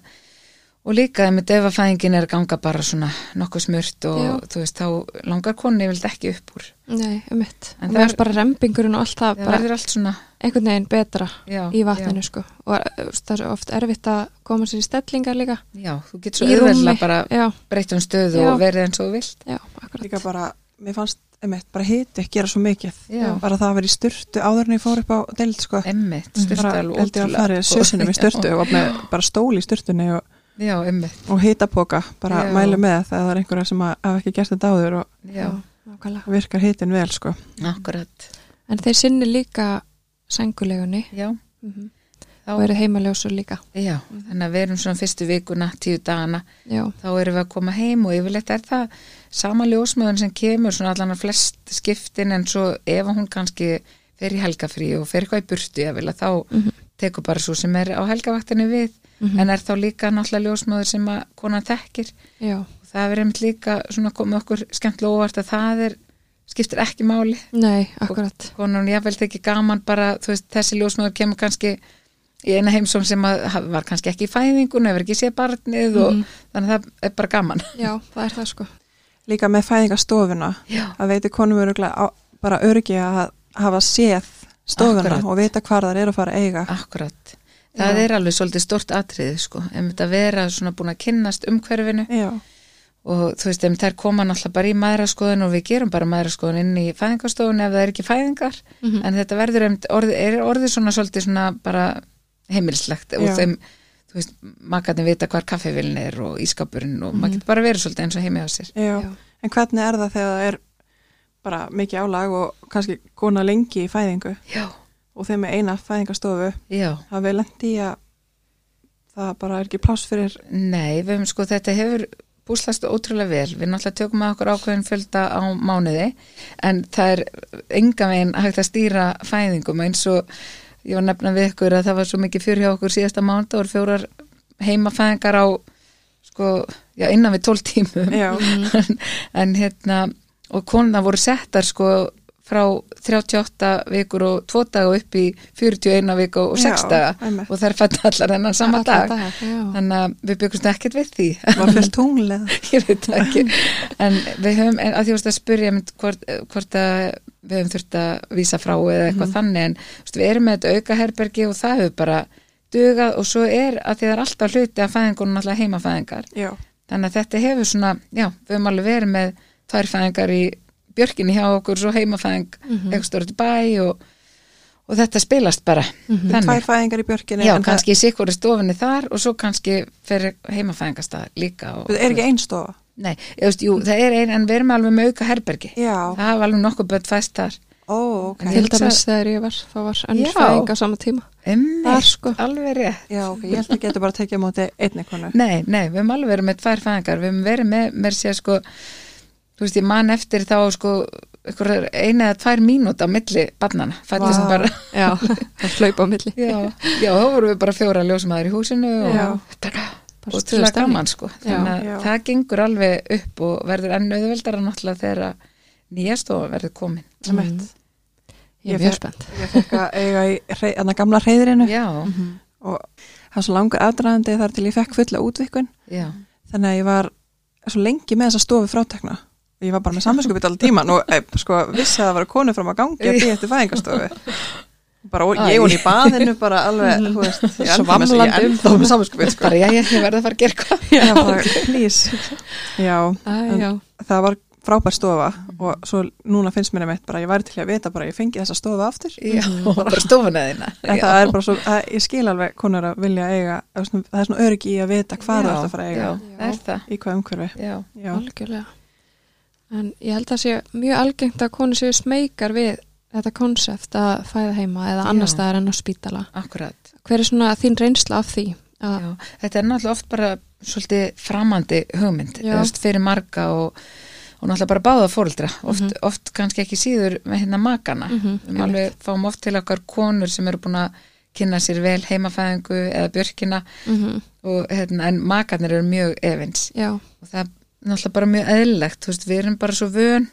og líka þegar með defafæðingin er að ganga bara svona nokkuð smurt og
Já.
þú veist þá langar konni vild ekki upp úr
Nei, um mitt.
En
Og mér
það er-
finnst bara rembingurinn og allt það
það
bara
verður allt svona
einhvern veginn betra
já,
í vatninu sko. Og eh, það er oft erfitt að koma sér í stellingar líka.
já, já, þú getur svo
í rúmi.
auðvitað bara
Já,
breytt um stöðu
Já.
og verið eins og þú vilt
já, akkurat.
líka bara, mér fannst einmitt, bara hiti að gera svo mikið
Já.
bara það að vera í styrtu áður en ég fór upp á deild sko.
emmitt,
bara
styrta alveg
held ég að
ótrúlega
fara í
sko.
sjösunum í styrtu og var með bara stóli í styrtunni og,
já, emmitt,
og hitapoka bara
Já.
mælu með það það er einhverja sem að, hafa ekki gert þetta áður og
já,
Já, nákvæmlega.
virkar hitin vel sko
akkurat
En þeir sinni líka sengulegunni
já,
Mhm.
þá,
og eru heimaljósur líka.
já, þannig að við erum svona fyrstu vikuna, tíu dagana
Já,
þá erum við að koma heim og yfirleitt er það sama ljósmaðurinn sem kemur svona allan að flest skiptin en svo ef hún kannski fer í helgafrí og fer eitthvað í burtu ég vil að þá
Mhm.
tekur bara svo sem er á helgavaktinu við en er þá líka náttúrulega ljósmaður sem að konan þekkir
já.
og það er einmitt líka svona komið okkur skemmtilega óvart að það er skiptir ekki máli
Nei, akkurat.
konan ég vil þekki gaman bara þú veist þessi ljósmaður kemur kannski í eina heimsóm sem að, var kannski ekki í fæðingun hefur ekki séð barnið og þannig að það er bara gaman
Já, það er það sko.
líka með fæðingastofuna
Já.
að veitir konum öruglega á, bara örgi að hafa séð stofuna
Akkurat. Ah.
og vita hvar þar eru að fara að eiga
Akkurat. Það er alveg svolítið stort atriði sko, ef þetta vera svona búin að kynnast umhverfinu
Já,
og þú veist, ef þær koma náttúrulega bara í maðuraskoðun og við gerum bara maðuraskoðun inn í fæðingarstofunni ef það er ekki fæðingar
Mhm.
en þetta verður, em, orðið, er orðið svona svolítið svona bara heimilslegt og
Já.
þeim, þú veist, makarnir vita hvar kaffevilin er og ískapurinn og maður getur bara verið svolítið eins og heimi á sér.
já.
Já.
en hvernig er það þegar það er bara mikið álag og kannski kona lengi í fæðingu
Já,
og þeim með eina fæðingastofu
já.
hafa við lendi í að það bara er ekki pláss fyrir
Nei, við höfum sko, þetta hefur búslast ótrúlega vel. Við náttúrulega tökum að okkur ákveðin fjölda á mánuði en það er enga veginn hægt að stýra fæðingum eins og ég var að nefna við ykkur að það var svo mikið fjör hjá okkur síðasta mánuð og fjórar heimafæðingar á sko, já, innan við 12 tímum
Já.
Mhm.
en, en hérna og konuna voru settar sko frá 38 vikur og 2 daga upp í 41 viku og 6
Já,
daga
einmitt.
og þær fættu allar hennar sama
Alla
dag
já.
þannig að við byggumst ekkert við því
Var fyrir tunglega.
ég veit það ekki en við höfum, en að því varst að spyrja mynd, hvort, hvort að við höfum þurft að vísa frá eða eitthvað þannig en þú veist, við erum með þetta aukaherbergi og það hefur bara dugað og svo er að því það er alltaf hluti að fæðingunum alltaf heimafæðingar
Já.
þannig að þetta hefur svona, já, við höfum alveg verið með tvær fæðingar í björkinni hjá okkur svo heimafæðing mm -hmm. eitthvað stort bæ og, og þetta spilast bara
Mhm. Tvær fæðingar í björkinni.
Já,
en
kannski í sikkur stofinni þar og svo kannski fyrir heimafæðingastað líka. Og,
Það er ekki einstofa.
Nei, ég veist, jú, það er ein, en við erum alveg með auka herbergi.
Já.
Það hafa alveg nokkuð börn fæst þar.
Ó, ok.
En
Til
hugsa-
dæmis þegar ég var, þá var
Já.
önnur fæðing á sama tíma. Þar,
Emmið,
sko.
Um alveg rétt.
Já, ok. Ég held að geta bara að tekja á móti einni konu.
Nei, nei, við höfum alveg verið með tvær fæðingar, við höfum verið með, mér sé sko, þú veist, ég man eftir þá sko, einhverjar eina eða tvær mínúta á milli barnana, fættist
Vá.
bara.
Já, það flaupa á milli.
Já, já, þá vorum við bara fjóra ljósmaður í húsinu
Já.
og, og
Bara
til
stuð
að
stemning.
gaman sko. Þannig að
Já. Já.
það gengur alveg upp og verður enn auðveldara náttúrulega þegar að nýja stofa verður komin.
Mm.
Ég
Ég
er mjög
fer-
spennt.
Ég fekk að eiga í hrei, anna, gamla reyðrinu
Já,
og það var svo langur aðdraðandi þar til ég fekk fulla útvikun.
já,
Þannig að ég var svo lengi með þessa stofi frátekna. Ég var bara með samvinskupið allir tíman og e, sko, vissi að það var konu fram að gangi að býja eftir fæðingarstofu. Bara og- ég og hún í baðinu bara alveg,
Mm.
þú veist, ég er ennþá með- ég er
Svamlandi um
ennþá með samvinskupið sko.
bara já, ég, ég verði að fara að gera eitthvað.
Já, bara, please. Já,
Æ,
En-
já.
það var frábær stofa
Mm.
og svo núna finnst mér einmitt bara, ég væri til að vita bara, að ég fengi þessa stofa aftur.
Já, bara stofuna þína.
Mm. En
Já.
það er bara svo, að, ég skil alveg konur að vilja eiga, það er svona, það er svona öryggi í að vita hvað
Já,
það er að fara að eiga,
Já, það er það.
í hvað umhverfi.
Já,
Já,
Algjörlega. En ég held að sé mjög algengt að konur séu smekar við þetta konsept að fæða heima eða annar
Já.
staðar en á spítala.
akkurat.
Hver er svona þín reynsla af því? Að,
Já, þetta er náttúrulega oft bara svolítið framandi hugmynd
Já.
eða fyrir marga og, og náttúrulega bara báða fóreldra oft, oft kannski ekki síður með hérna makana mm
Mhm,
-hmm, alveg fáum oft til okkar konur sem eru búin að kynna sér vel heimafæðingu eða björkina
mm
og, hérna, en makarnir eru mjög efins
já.
og það er náttúrulega bara mjög eðlilegt þú veist, við erum bara svo vön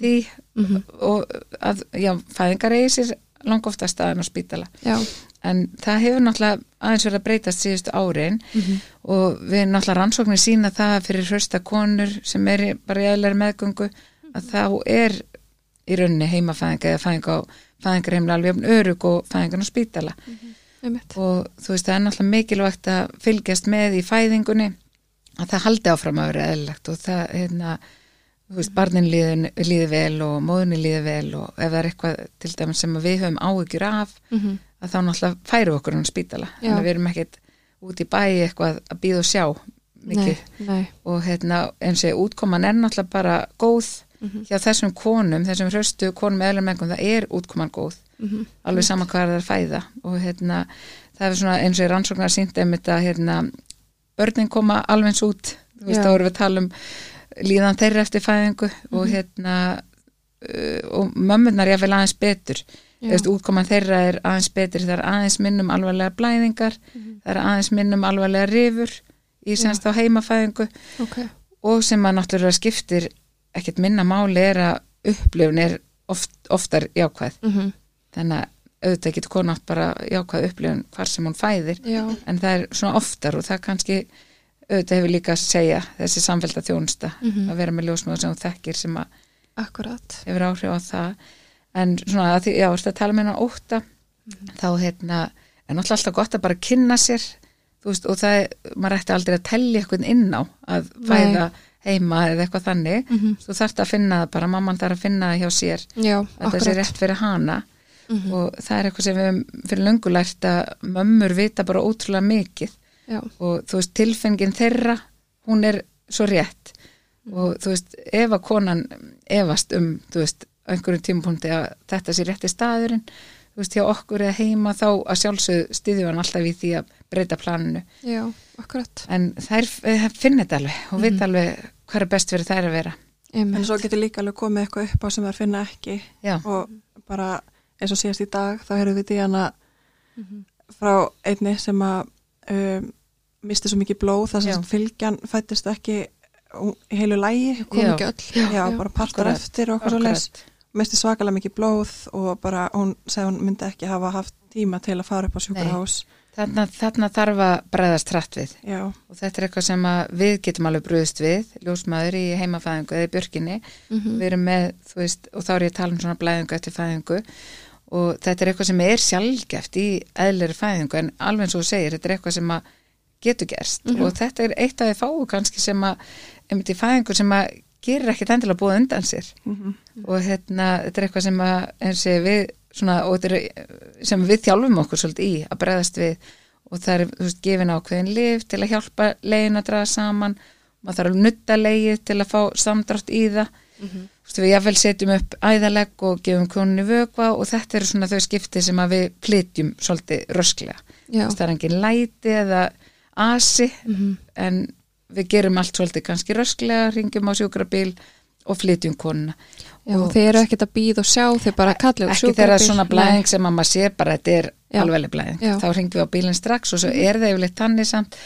því
mhm,
og að, já, fæðingar eigi sér lang oftast aðeins á spítala
já.
en það hefur náttúrulega aðeins verið að breytast síðustu árin og við náttúrulega rannsóknir sína það fyrir hrausta konur sem er bara í aðlæri meðgöngu að þá er í rauninni heimafæðinga eða fæðing á fæðingar heimlega alveg jafn örug og fæðingar á spítala
einmitt.
og þú veist það er náttúrulega mikilvægt að fylgjast með í fæðingunni að það haldi áfram að vera eðlilegt og það hérna þú veist, barnin líði, líði vel og móðinni líði vel og ef það er eitthvað til dæmis sem að við höfum áhyggjur af
Mhm,
að þá náttúrulega færum við okkur hann spítala
Já.
þannig að við erum ekkert út í bæi eitthvað að býða og sjá mikið
Nei, nei.
og hérna eins og útkoman er náttúrulega bara góð
Mhm,
hjá þessum konum, þessum hraustu konum með eðlum engum, það er útkoman góð
mhm,
alveg sama hvað það er að fæða og hérna það er svona eins og í rannsóknar sínt einmitt að hérna börnin koma alveg eins út, þú veist
Já.
þá vorum við að tala um líðan þeirra eftir fæðingu og
Mhm.
hérna uh, og mömmunar ég vil aðeins betur
Já.
Eftir, útkoman þeirra er aðeins betri það er aðeins minnum alvarlega blæðingar
Mhm.
það er aðeins minnum alvarlega rifur í semst á heimafæðingu
Ok.
og sem að náttúrulega skiptir ekkert minna máli er að upplifun er oft, oftar jákvæð
mhm,
þannig að auðvitað getur kona átt bara jákvæð upplifun hvar sem hún fæðir
Já.
en það er svona oftar og það kannski auðvitað hefur líka að segja þessi samfélta þjónusta
Mhm.
að vera með ljósmöður sem hún þekkir sem að
Akkurat.
hefur áhrif á það en svona að því, já, ertu að tala með hennar óta þá hérna er náttúrulega alltaf gott að bara kynna sér þú veist, og það, er- maður ætti aldrei að tellja eitthvað inn á að fæða heima eða eitthvað þannig mm
Mhm.
-hmm. þú þarft að finna það bara, mamman þarf að finna það hjá sér
Já,
að það sé
akkurat. Mhm.
rétt fyrir hana og það er eitthvað sem við höfum fyrir löngu lært að mömmur vita bara ótrúlega mikið
Já.
og þú veist tilfengin þeirra hún er svo rétt og þú veist ef að konan efast um þú veist á einhverjum tímapunkti að þetta sé rétti staðurinn þú veist, hjá okkur eða heima þá að sjálfsög stiðjum hann alltaf í því að breyta planinu
já, akkurat
en þær eh, finna þetta alveg og vita alveg hvað er best fyrir þær að vera
En svo getur líka alveg komið eitthvað upp á sem þær finna ekki
já,
og bara eins og síðast í dag þá heyrðum við díana
Mhm.
Mhm.
frá einni sem að um, misti svo mikið blóð þar
Já.
sem fylgjan fættist ekki um, í heilu lægi
kom
Já.
ekki öll
já, bara partar
Akkurat.
eftir og eitthvað svo leis
akkurat
misti svakalega mikið blóð og bara hún segði hún myndi ekki hafa haft tíma til að fara upp á sjúkrahás
þarna, þarna þarf að bregðast trætt við
já,
og þetta er eitthvað sem að við getum alveg brúðist við, ljósmaður í heimafæðingu eða í björkinni,
Mhm.
við erum með þú veist, og þá er ég að tala um svona blæðingu eftir fæðingu og þetta er eitthvað sem er sjálfgeft í eðlir fæðingu en alveg eins og þú segir, þetta er eitthvað sem að getur gerst og þetta er eitt af því fáu kannski sem að, einmitt í fæðingu sem að gerir ekkit endilega búið undan sér og hérna, þetta er eitthvað sem að eins og ég, við svona, og þetta er, eh, sem við þjálfum okkur svolítið í að bregðast við og það er, þú veist, gefin ákveðin lif til að hjálpa legin að draga saman maður þarf að nutta legið til að fá samdrátt í það
Mhm.
Þú veist, við jafnvel setjum upp æðalegg og gefum konunni vökva og þetta eru svona þau skipti sem að við flytjum svolítið rösklega.
Já. Mhm.
Þú veist, Það er engin læti eða asi en við gerum allt svolítið kannski rösklega, ringjum á sjúkrabíl og flytjum konuna.
Já, og þeir eru ekkert að býða og sjá, þeir bara kallið
Ekki þegar það er svona blæðing sem að maður sé bara að þetta er
Já.
alveglega blæðing.
Já. Mhm.
Þá ringjum við á bílinn strax og svo er það yfirleitt þannig samt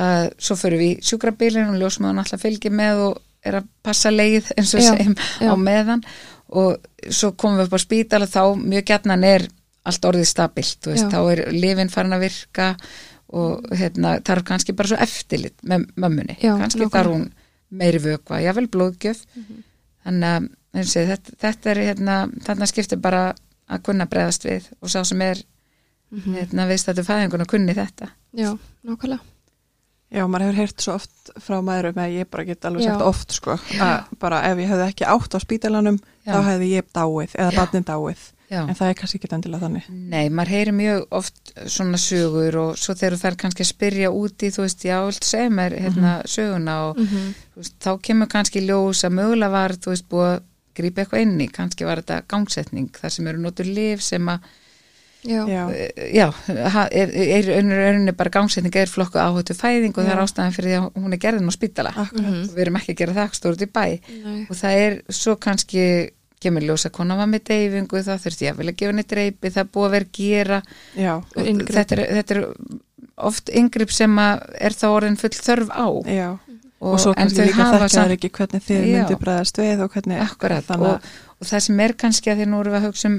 að svo förum við í sjúkrabílinn og ljósmaður alltaf fylgir með og er að passa leið eins og
Já.
segjum
Já.
á meðan og svo komum við upp á spítal og þá mjög gætnan er allt orðið stabilt, þú veist,
Já.
þá er lifin farin að virka og hérna, þarf kannski bara svo eftirlit með mömmunni,
Já,
kannski
nákvæmlega. Mhm.
þarf hún meiri vökva, jável blóðgjöf þannig að eins og ég segi, þetta, þetta er hérna, þarna skiptir bara að kunna bregðast við og sá sem er
Mhm.
hérna, veist þetta fæðingun og kunni þetta
Já, nákvæmlega
já, maður hefur heyrt svo oft frá maðurum að ég bara get alveg
Já.
sagt oft sko, að bara ef ég hefði ekki átt á spítalanum
Já.
þá hefði ég dáið eða barnin dáið
Já.
en það er kannski ekki endilega þannig
Nei, maður heyri mjög oft svona sögur og svo þegar þú þær kannski að spyrja úti, þú veist, já, vilt segja mér hérna,
Mhm.
söguna og þú veist, þá kemur kannski ljós að mögulega var, þú veist, búið að grípa eitthvað inn í, kannski var þetta gangsetning, þar sem eru notur lif sem að,
Já, já,
já,
eh, já, ha- er, er önnur önnu bara gangsetning er flokku áhættu fæðing og það er ástæðan fyrir því að hún er gerðin á spítala.
akkurat
Og Við erum ekki að gera það stórt í bæ
Mhm. Nei.
og það er svo kannski kemur ljós að kona var með deyfingu, það þurfti ég að vilja gefa henni dreipi, það er búið að vera að gera
já,
Og inngrip.
þetta er, þetta er oft yngripp sem að er þá orðin full þörf á og,
já og, svo kannski líka þekkja þær ekki hvernig þið
Já.
myndu bregðast við og hvernig
akkurat
þannig
og, og það sem er kannski að því nú erum við að hugsa um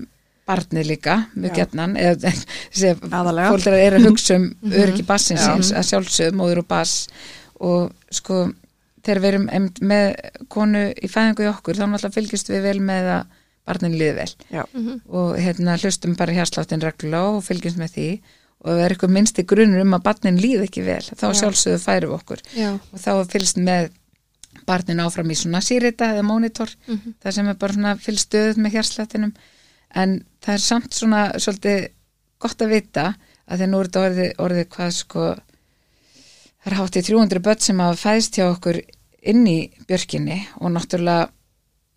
barnið líka, mjög
Já.
gjarnan eða sem
Aðallega. Mhm.
fólkdrar er að hugsa um öryggi bassins
Já.
síns, að sjálfsögum, móður og bass og sko þegar við erum einmitt með konu í fæðingu í okkur, þá náttúrulega fylgjast við vel með að barnin liði vel
að já,
Mhm.
og hérna hlustum bara hérsláttin reglulega og fylgjumst með því og ef það er eitthvað minnsti grunur um að barnin líð ekki vel þá sjálfsögðu færum við okkur
já,
og þá er fylgst með barnin áfram í svona sírita eða monitor
Mhm.
það sem er bara svona fylgst stöðuð með hérsláttinum en það er samt svona svolítið gott að vita að þegar nú er þetta orðið, orðið hvað sko það er háttið 300 börn sem hafa fæðst hjá okkur inn í björkinni og náttúrulega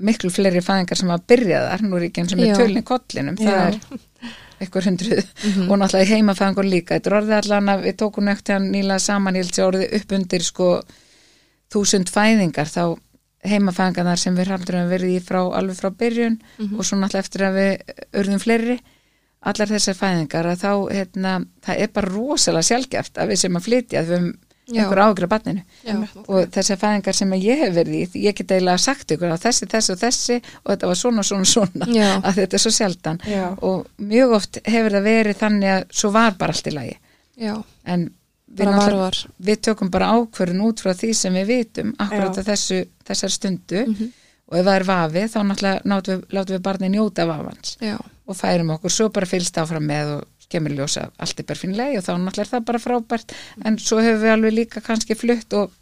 miklu fleiri fæðingar sem hafa byrjað þar, nú er ekki eins og
Já.
með tölni kollinum, það
Já.
er einhver hundruð og náttúrulega í heimafæðingur líka þetta er orðið allan að við tókum nögt hann nýla saman, ég held sér orðið upp undir sko þúsund fæðingar þá heimafæðingarnar sem við haldur að verið í frá, alveg frá byrjun
Mhm.
og svo náttúrulega eftir að við urðum fleiri allar þessar fæðingar að þá hérna, það er bara rosalega sjálfgeft að við sem að flytja að við höfum
Já.
einhver ágra barninu
já,
og þessar fæðingar sem að ég hef verið í ég get eiginlega sagt ykkur að þessi, þessi og þessi og þetta var svona, svona, svona
Já.
að þetta er svo sjaldan
Já.
og mjög oft hefur það verið þannig að svo var bara allt í lagi
já,
en við,
Bara var
náttúrulega-
var.
við tökum bara ákvörðun út frá því sem við vitum akkurat
Já.
að þessu, þessar stundu
Mm. Mhm.
og ef það er vafi þá náttúrulega nátum við, látum við barni njóta vafans
já,
og færum okkur svo bara fylgst áfram með og kemur í ljós að allt er bara fínlega og þá náttúrulega er það bara frábært en svo hefur við alveg líka kannski flutt og,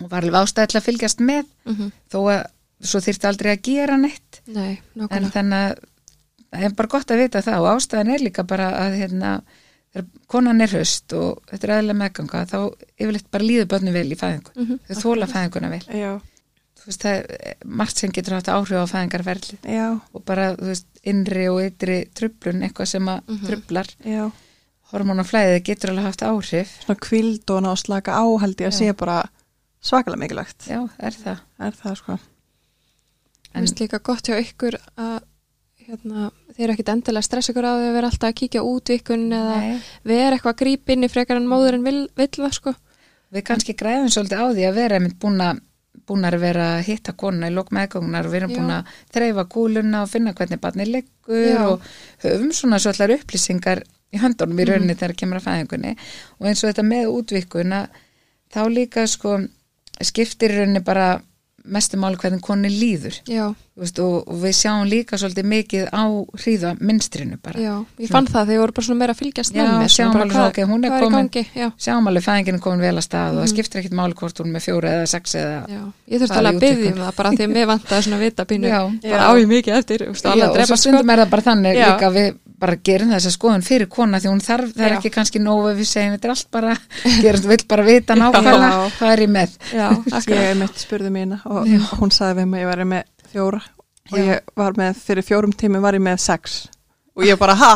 og var alveg ástæði til að fylgjast með þó að svo þyrfti aldrei að gera neitt
Mhm. nei,
en
nákvæmlega
þannig að það er bara gott að vita það og ástæðan er líka bara að hérna, þegar konan er höst og þetta
Mhm.
er aðlega meðganga þá yfirleitt bara líður börnum vel í fæðingu þau þóla fæðinguna vel
já,
þú veist, það er margt sem getur haft áhrif á fæðingarverli
já,
og bara, þú veist, innri og ytri trublun, eitthvað sem að
Mhm.
trublar
já
hormonaflæðið getur alveg haft áhrif
svona kvild og ná að slaka á held ég að sé bara svakalega mikilvægt
já, er það
er það sko
Mér finnst líka gott hjá ykkur að hérna, þeir eru ekkit endilega að stressa ykkur á því að vera alltaf að kíkja út vikun eða
Nei.
vera eitthvað að grípa inn í frekar en móður en vil, vill það sko.
Við kannski græðum svolítið á því að vera einmitt búin að búin að vera að hitta konuna í lokmeðgöngunar og við erum
Já.
búin að þreifa kúluna og finna hvernig barnið leggur
Já. Mhm.
og höfum svona svolítið upplýsingar í höndunum í rauninni þegar kemur að fæðingunni og eins og þetta með útvikuna þá líka sko skiptir í rauninni bara mestu máli hvernig konu líður
Já,
Þú veist, og, og við sjáum líka svolítið mikið á hríða minstrinu bara
já, ég fann það þegar voru bara svona meira að fylgjast
Já,
með mér.
sjáum
svona bara
alveg,
hvað-
ok, hún er
hvað
komin.
í gangi, já.
sjáum alveg fæðingin er komin vel að stað
Mhm.
og það skiptir ekkit máli hvort hún er með fjóra eða sex eða
Já, ég þurfti
Bara
alveg
í
að byggja um
útvikun.
það bara því að mér vantaði svona vita pínu
Já.
bara
Já.
á ég mikið eftir, þú veist,
Já,
alveg að
og svo
drepa sko
stundum er það bara þannig
Já.
líka að við bara gerum þessa skoðun fyrir kona því hún þarf, það er
Já.
ekki kannski nóg ef við segjum þetta er allt bara, gerum vill bara vita nákvæmlega
Já.
hvað er ég með
sko.
Já, ég er mitt spurði mína og hún sagði við mig að ég væri með fjóra og
Já.
ég var með, fyrir fjórum tímum var ég með sex og ég bara, ha,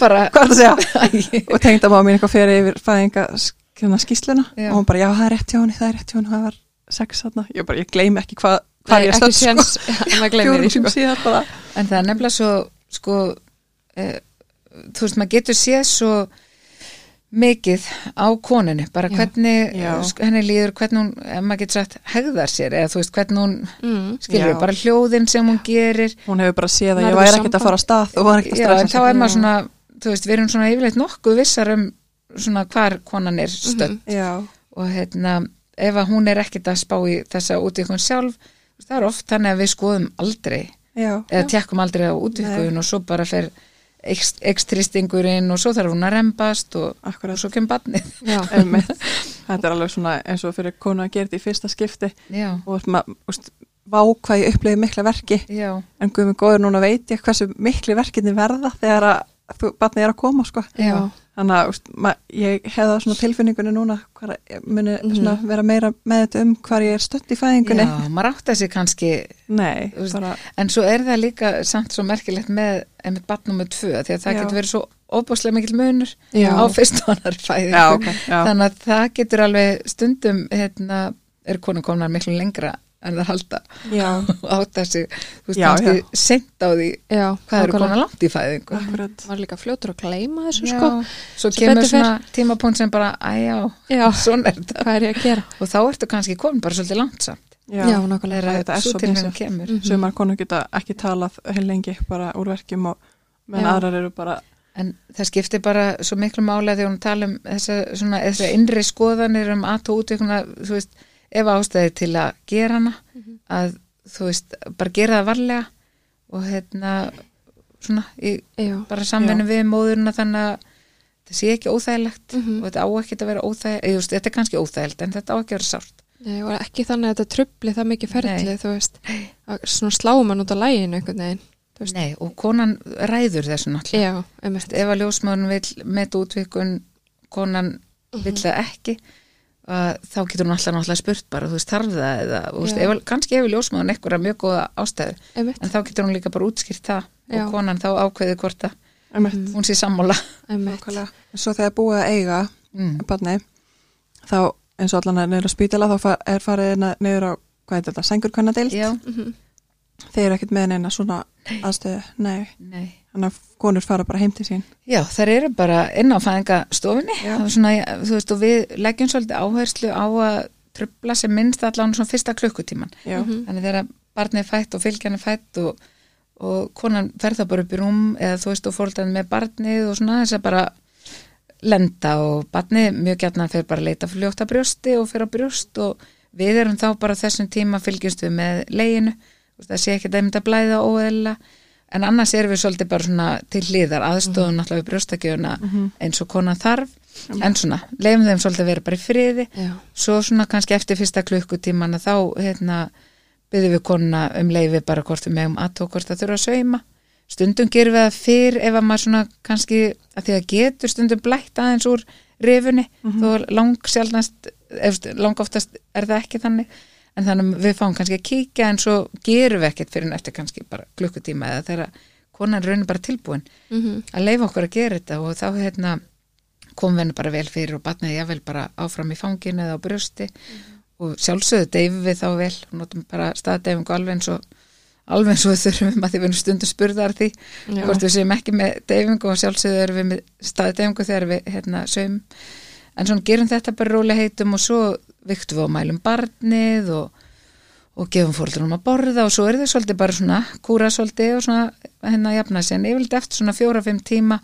bara,
hvað er það að segja? og tengda maður mín eitthvað fyrir yfir fæðinga skjörna skýsluna
Já.
og hún bara, já, það er rétt hjá henni, það er rétt hjá henni, það var sex þarna, ég bara, ég gleymi ekki hvað
Nei,
hvað ég
ekki
stönd, sko,
séns, já, maður gleymir því
fjórum
sko
tímum síðan bara,
en það er nefnilega svo sko e, þú veist, maður getur séð svo mikið á koninu bara
Já.
hvernig
Já.
eh, sk- henni líður, hvernig hún, ef maður getur sagt hegðar sér, eða þú veist, hvernig hún
mm.
skilur,
Já.
bara hljóðin sem hún gerir
hún hefur bara séð að
Nærðu
ég væri ekkert
samband.
að fara að stað og var ekkert að
Já, en þá
stressa sig.
er maður svona, þú veist, við erum svona yfirleitt nokkuð vissar um svona hvar konan er
Mhm.
stödd
Já,
og hérna, ef að hún er ekkit að spá í þessa útvikun sjálf, þú veist, það er oft þannig að við skoðum aldrei
já,
eða tekkum aldrei á útvikun og svo bara fer ekstristingurinn og svo þarf hún að rembast og, og
akkurat
svo kemur badnið.
Mm. Já,
Einmitt. Þetta er alveg svona eins og fyrir konu að gera þetta í fyrsta skipti
Já,
og maður, úst, vá hvað ég upplifið mikla verki
já,
en guðmur góður núna veit ég hversu mikli verkinni verða þegar að þú, barnið er að koma sko.
já,
Já.
þannig að úst, mað, ég hefða svona tilfinningunni núna hvar ég muni svona vera meira með þetta um hvar ég er stödd í fæðingunni
Mhm. já, maður átta sig kannski
nei,
Þú veist,
bara,
En svo er það líka samt svo merkilegt með einmitt batn nummið tvö því að það
Já.
getur verið svo óbúslega mikil munur
Já.
á fyrstu annar fæðingu.
Já, ok, já.
Þannig að það getur alveg stundum, hérna, er konu komnar miklu lengra en það halda
já,
og átta sig, þú veist,
Já,
kannski sent á því
já
hvað eru
nákvæmlega.
konar langt í fæðingu.
akkurat
Maður er líka fljótur að gleyma þessu
Já.
sko Sem
Svo kemur
betur fer.
svona tímapunkt sem bara, æjá,
Já,
svona er þetta.
hvað er ég að gera?
Og þá ertu kannski komin bara svolítið langt samt.
já,
Já,
já
nákvæmlega
Þegar
þetta er
svo
svo
tilfinn
misjafnt.
kemur.
sumar konur geta ekki talað heil lengi bara úr verkjum og menn
Já.
aðrar eru bara
En það skiptir bara svo miklu mála þegar hún tala um þessa, svona, þessa innri skoðanir um at og útvikuna, þú veist, ef ástæði til að gera hana,
Mhm.
að þú veist, bara gera það varlega og hérna, svona, í,
Já,
bara samvinni við móðurina þannig að það sé ekki óþægilegt
Mhm.
Mhm.
og þetta á ekki að vera óþægilegt, eða þú veist, þetta er kannski óþægilegt en þetta á ekki að vera sárt.
Nei, og ekki þannig að þetta trubli það mikið ferli
Nei.
þú veist, að svona sláum mann út af læginu einhvern veginn, þú veist
Nei, og konan ræður þessu náttúrulega.
Já, einmitt,
ef að ljósmaðurinn vil meta útvikun konan vil það ekki að þá getur hún alltaf náttúrulega spurt bara, þú veist, þarf það eða, þú veist,
Já.
ef, að- kannski hefur ljósmaðurinn einhverja mjög góða ástæðu
einmitt,
en þá getur hún líka bara útskýrt það
Já.
og konan þá ákveði hvort að
einmitt,
hún sé sammála
einmitt.
nákvæmlega. svo þegar búið að eiga
mm.
barni þá eins og allan er neyður á spítala þá fa- er farið hérna niður á hvað er þetta, sengurkvæmnadeild
Já,
Mhm.
þeir eru ekkert með neina svona aðstöðu nei,
nei
þannig að konur fara bara heim til sín
Já, þær eru bara inn á fæðingastofinni
Já.
Það er svona, ja, þú veist, og við leggjum svolítið áherslu á að trubla sem minnst allan svona fyrsta klukkutíman
já,
mhm.
þannig þegar barnið er fætt og fylgjan er fætt og, og konan fer þá bara upp í rúm eða þú veist og fórhaldan með barnið og svona þess að bara lenda og barnið mjög gætna fer bara að leita fljótt að brjósti og fer á brjóst og við erum þá bara á þessum tíma fylgjumst við með leginu Þú veist, það sé ekki dæmd að blæða óeðla en annars erum við svolítið bara svona til hliðar aðstofun náttúrulega við brjóstakjöfuna eins og konan þarf en svona, leifum þeim svolítið að vera bara í friði
Já,
svo svona kannski eftir fyrsta klukkutíman að þá hérna byðum við konuna um leifi bara hvort við megum aðtók hvort það þurfa að sauma stundum gerum við það fyrr ef að maður svona kannski að því að getur stundum blætt aðeins úr rifunni þó lang sjálfnast lang oftast er það ekki þannig en en þannig að við fáum kannski að kíkja en svo gerum við ekkert fyrir eftir kannski bara klukkutíma eða þegar konan raunir bara tilbúin
Mhm.
að leifa okkur að gera þetta og þá hérna kom henni bara vel fyrir og batnaði jável bara áfram í fanginu eða á brjósti og sjálfsögðu deyfum við þá vel og notum bara staðdeyfingu alveg eins og alveg eins og við þurfum að því við erum stundum spurðar því
Já.
hvort við séum ekki með deyfingu og sjálfsögðu erum við með staðdeyfingu þegar við hérna sögum en svona gerum þetta bara róli heitum og svo viktum við og mælum barnið og, og gefum fóldrunum að borða og svo er þau svolítið bara svona kúra svolítið og svona hérna jafna sig en yfirleitt eftir svona fjóra-fimm tíma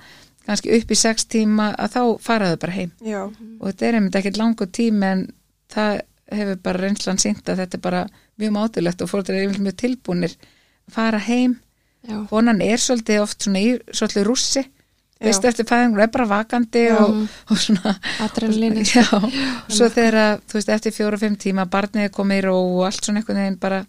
kannski upp í sex tíma að þá faraðu bara heim
Já,
og þetta er einmitt ekkert langur tími en það hefur bara reynslan sínt að þetta er bara mjög mátulegt og fóldrar er yfirleitt mjög tilbúnir fara heim
Já.
konan er svolítið oft svona í svolítið rússi
Já.
veist eftir fæðingur er bara vakandi
Já.
og, og svona
Adrenalínið,
já, svo þegar að, þú veist eftir fjóra-fimm tíma barnið er komið í ró og allt svona einhvern veginn bara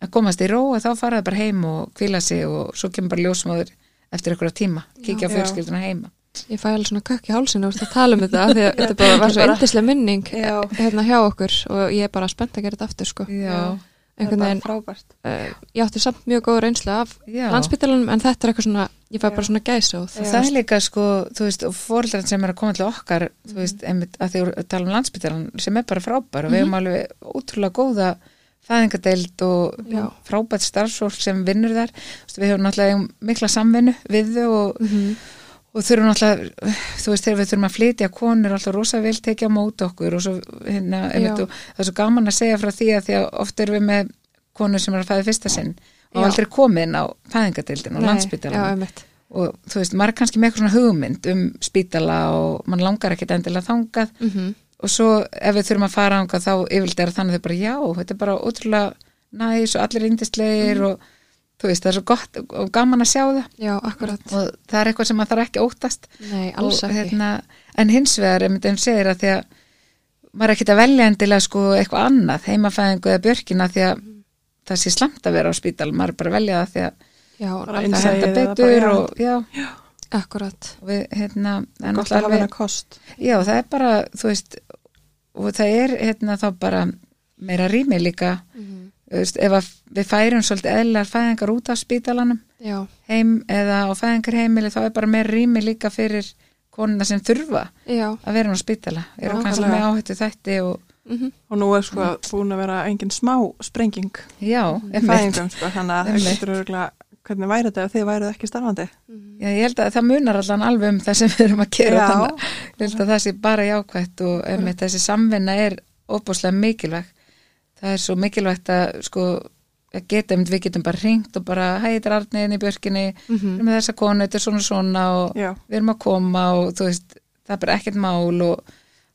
að komast í ró og þá faraði bara heim og kvila sig og svo kemur bara ljósmáður eftir einhverja tíma, kíkja á
Já.
fjölskylduna heima
Ég fæ alveg svona kökk í hálsinu og að tala um þetta af því að þetta bara var svo
Bara-
eindislega minning
Já.
hérna hjá okkur og ég er bara spennt að gera þetta aftur sko.
já,
það er
Einhvern
bara
veginn,
frábært
uh, ég átti samt mjög góð reynsla af
Já.
landspítalanum en þetta er eitthvað svona, ég fæ bara
Já.
svona gæsóð.
Já.
það er líka sko, þú veist, og fóreldrar sem er að koma til okkar, þú veist, einmitt að því að tala um landsbytaran sem er bara frábær og við erum alveg ótrúlega góða fæðingadeild og
Já.
frábært starfsfólk sem vinnur þar Þú veist, við höfum náttúrulega eigum mikla samvinnu við þau og,
Mhm.
og þurfum náttúrulega þú veist, þegar við þurfum að flytja konur alltaf rosa vel tekja á móti okkur og svo hérna, einmitt,
Já.
og það er svo gaman að segja frá því að því að oft erum við með konur sem er að fæða fyrsta sinn og
Já.
aldrei komin inn á fæðingadeildin og
Já,
landsbytaran
einmitt.
og þú veist, maður er kannski með eitthvað svona hugmynd um spítala og mann langar ekkit endilega þangað
Mm
og svo ef við þurfum að fara þangað þá yfirleitt er þannig þau bara já, þetta er bara ótrúlega næs og allir indislegir
Mhm.
og þú veist, það er svo gott og gaman að sjá það
Já, akkurat.
og það er eitthvað sem maður þarf ekki að óttast
Nei, alls
og,
ekki.
hérna, en hins vegar, einmitt einn segir að því að maður er ekkit að velja endilega sko eitthvað annað, heimafæðingu eða björkina því að það sé slamt að vera á spítal maður er bara að velja það því að
já,
Bara
það-
það
Innsæið
henda
eða bara,
betur
já.
og já,
akkurat.
og við, hérna, það er
Gott að
náttúrulega
hafa
alveg-
hennar kost
Já, það er bara, þú veist, og það er hérna þá bara meira rými líka, þú veist, ef að við færum svolítið eðlar fæðingar út af spítalanum
Já,
heim eða á fæðingarheimili, þá er bara meira rými líka fyrir konuna sem þurfa
já.
að vera á spítala, eru kannski
Nákvæmlega.
með áhættu þætti og
Mm
og nú er sko búin að vera engin smá sprenging
já,
í
Mhm. einmitt.
fæðingum sko, þannig að það
Einmitt.
getur örgulega, hvernig væri þetta ef þið værið ekki starfandi?
mhm,
Já, ég held að það munar allan alveg um það sem við erum að gera
Já. Mm.
þannig, að ég held að það sé bara jákvætt og einmitt, þessi samvinna er óbúslega mikilvæg það er svo mikilvægt að sko að geta, einmitt, við getum bara hringt og bara hæ, þetta er Arniðin í björkinni mm
mhm.
-hmm. með þessa konu, þetta er svona svona og
Já.
við erum að koma og þú veist það er bara ekkert mál og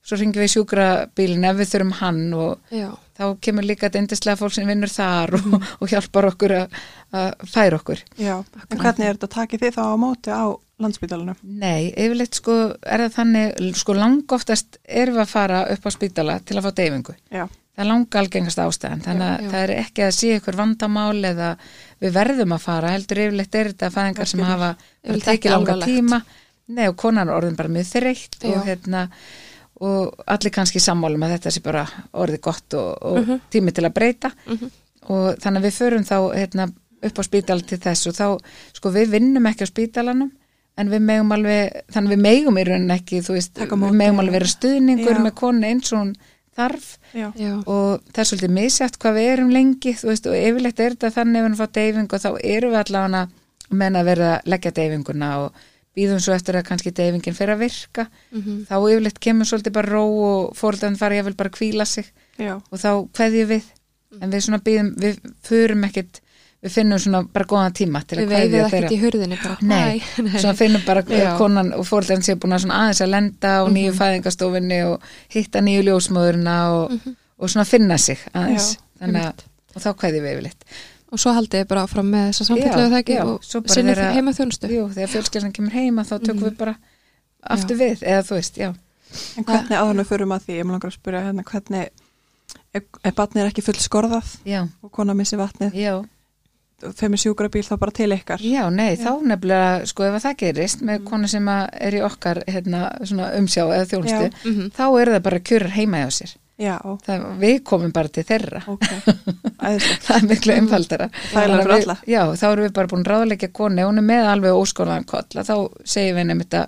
svo hringjum við sjúkrabílinn ef við þurfum hann og
Já,
þá kemur líka þetta endislega fólk sem vinnur þar og, og hjálpar okkur að- að færa okkur
Já, en hvernig er þetta takið þið þá á móti á landsbytalanum?
Nei, yfirleitt sko er það þannig, sko langoftast erum við að fara upp á spítala til að fá deyfingu.
Já,
Það er langa algengast ástæðan, þannig
Já,
að
já.
það er ekki að sé ykkur vandamál eða við verðum að fara, heldur yfirleitt er þetta fæðingar sem hafa bara
Yfirleitt ekki
tekið langa
alvarlegt.
tíma. Nei, og konan er orðin bara mjög þreytt
Já.
og hérna og allir kannski sammálum að þetta sé bara orðið gott og, og tími til að breyta
mhm,
og þannig að við förum þá hérna, upp á spítal til þess og þá, sko við vinnum ekki á spítalanum en við megum alveg, þannig að við megum í rauninni ekki, þú veist,
Taka á
við
móti,
megum
já.
alveg vera stuðningur
Já.
með konu eins og hún þarf
já,
já.
og það er svolítið misjætt hvað við erum lengi þú veist, og yfirleitt er þetta þannig ef hann fá deyfingu og þá erum við allavega menn að vera að leggja deyfinguna og býðum svo eftir að kannski deyfingin fyrir að virka
Mhm.
þá yfirleitt kemur svolítið bara ró og fóreldan fara ég bara að kvíla sig
já,
og þá kveðjum við en við svona býðum, við förum ekkit við finnum svona bara góðan tíma til að
Við
kveðja
veifið
þeirra.
ekkert í hurðinni bara,
Nei,
bæ.
svona finnum bara
Já.
konan og fórlæðin sé búin að svona aðeins að lenda á nýju fæðingastofinni og hitta nýju ljósmöðurina og,
Mhm.
og svona finna sig aðeins.
Já,
Þannig að, og þá kveðum við yfirleitt.
Og svo haldið þið bara áfram með þessa samfélöðu þekki
já,
og
svo bara
sinni
vera-
heima þjónustu.
Jú, þegar fjölskyldan kemur heima þá tökum við bara aftur við, eða þú veist, já.
en hvernig áðurlega förum að því, ég mér langar að spyrja hérna, hvernig, ef, ef batnið er ekki full skorðað
Já,
og kona missi vatnið,
já,
þeim er sjúkrabíl þá bara til ykkar?
já, nei, þá nefnilega, sko, ef að það gerist með konu sem að er í okkar, hérna, svona umsjá eða þjónustu,
Já.
Mhm.
þá er það bara kjurur heima hjá sér.
Já,
það, við komum bara til þeirra
ok, æðislegt.
það er miklu einfaldara
Mm. Þægilegra fyrir
Bara við-
alla.
já, þá erum við bara búin að ráðleggja konu ef hún er með alveg óskonaðan koll að þá segjum við nefnir þetta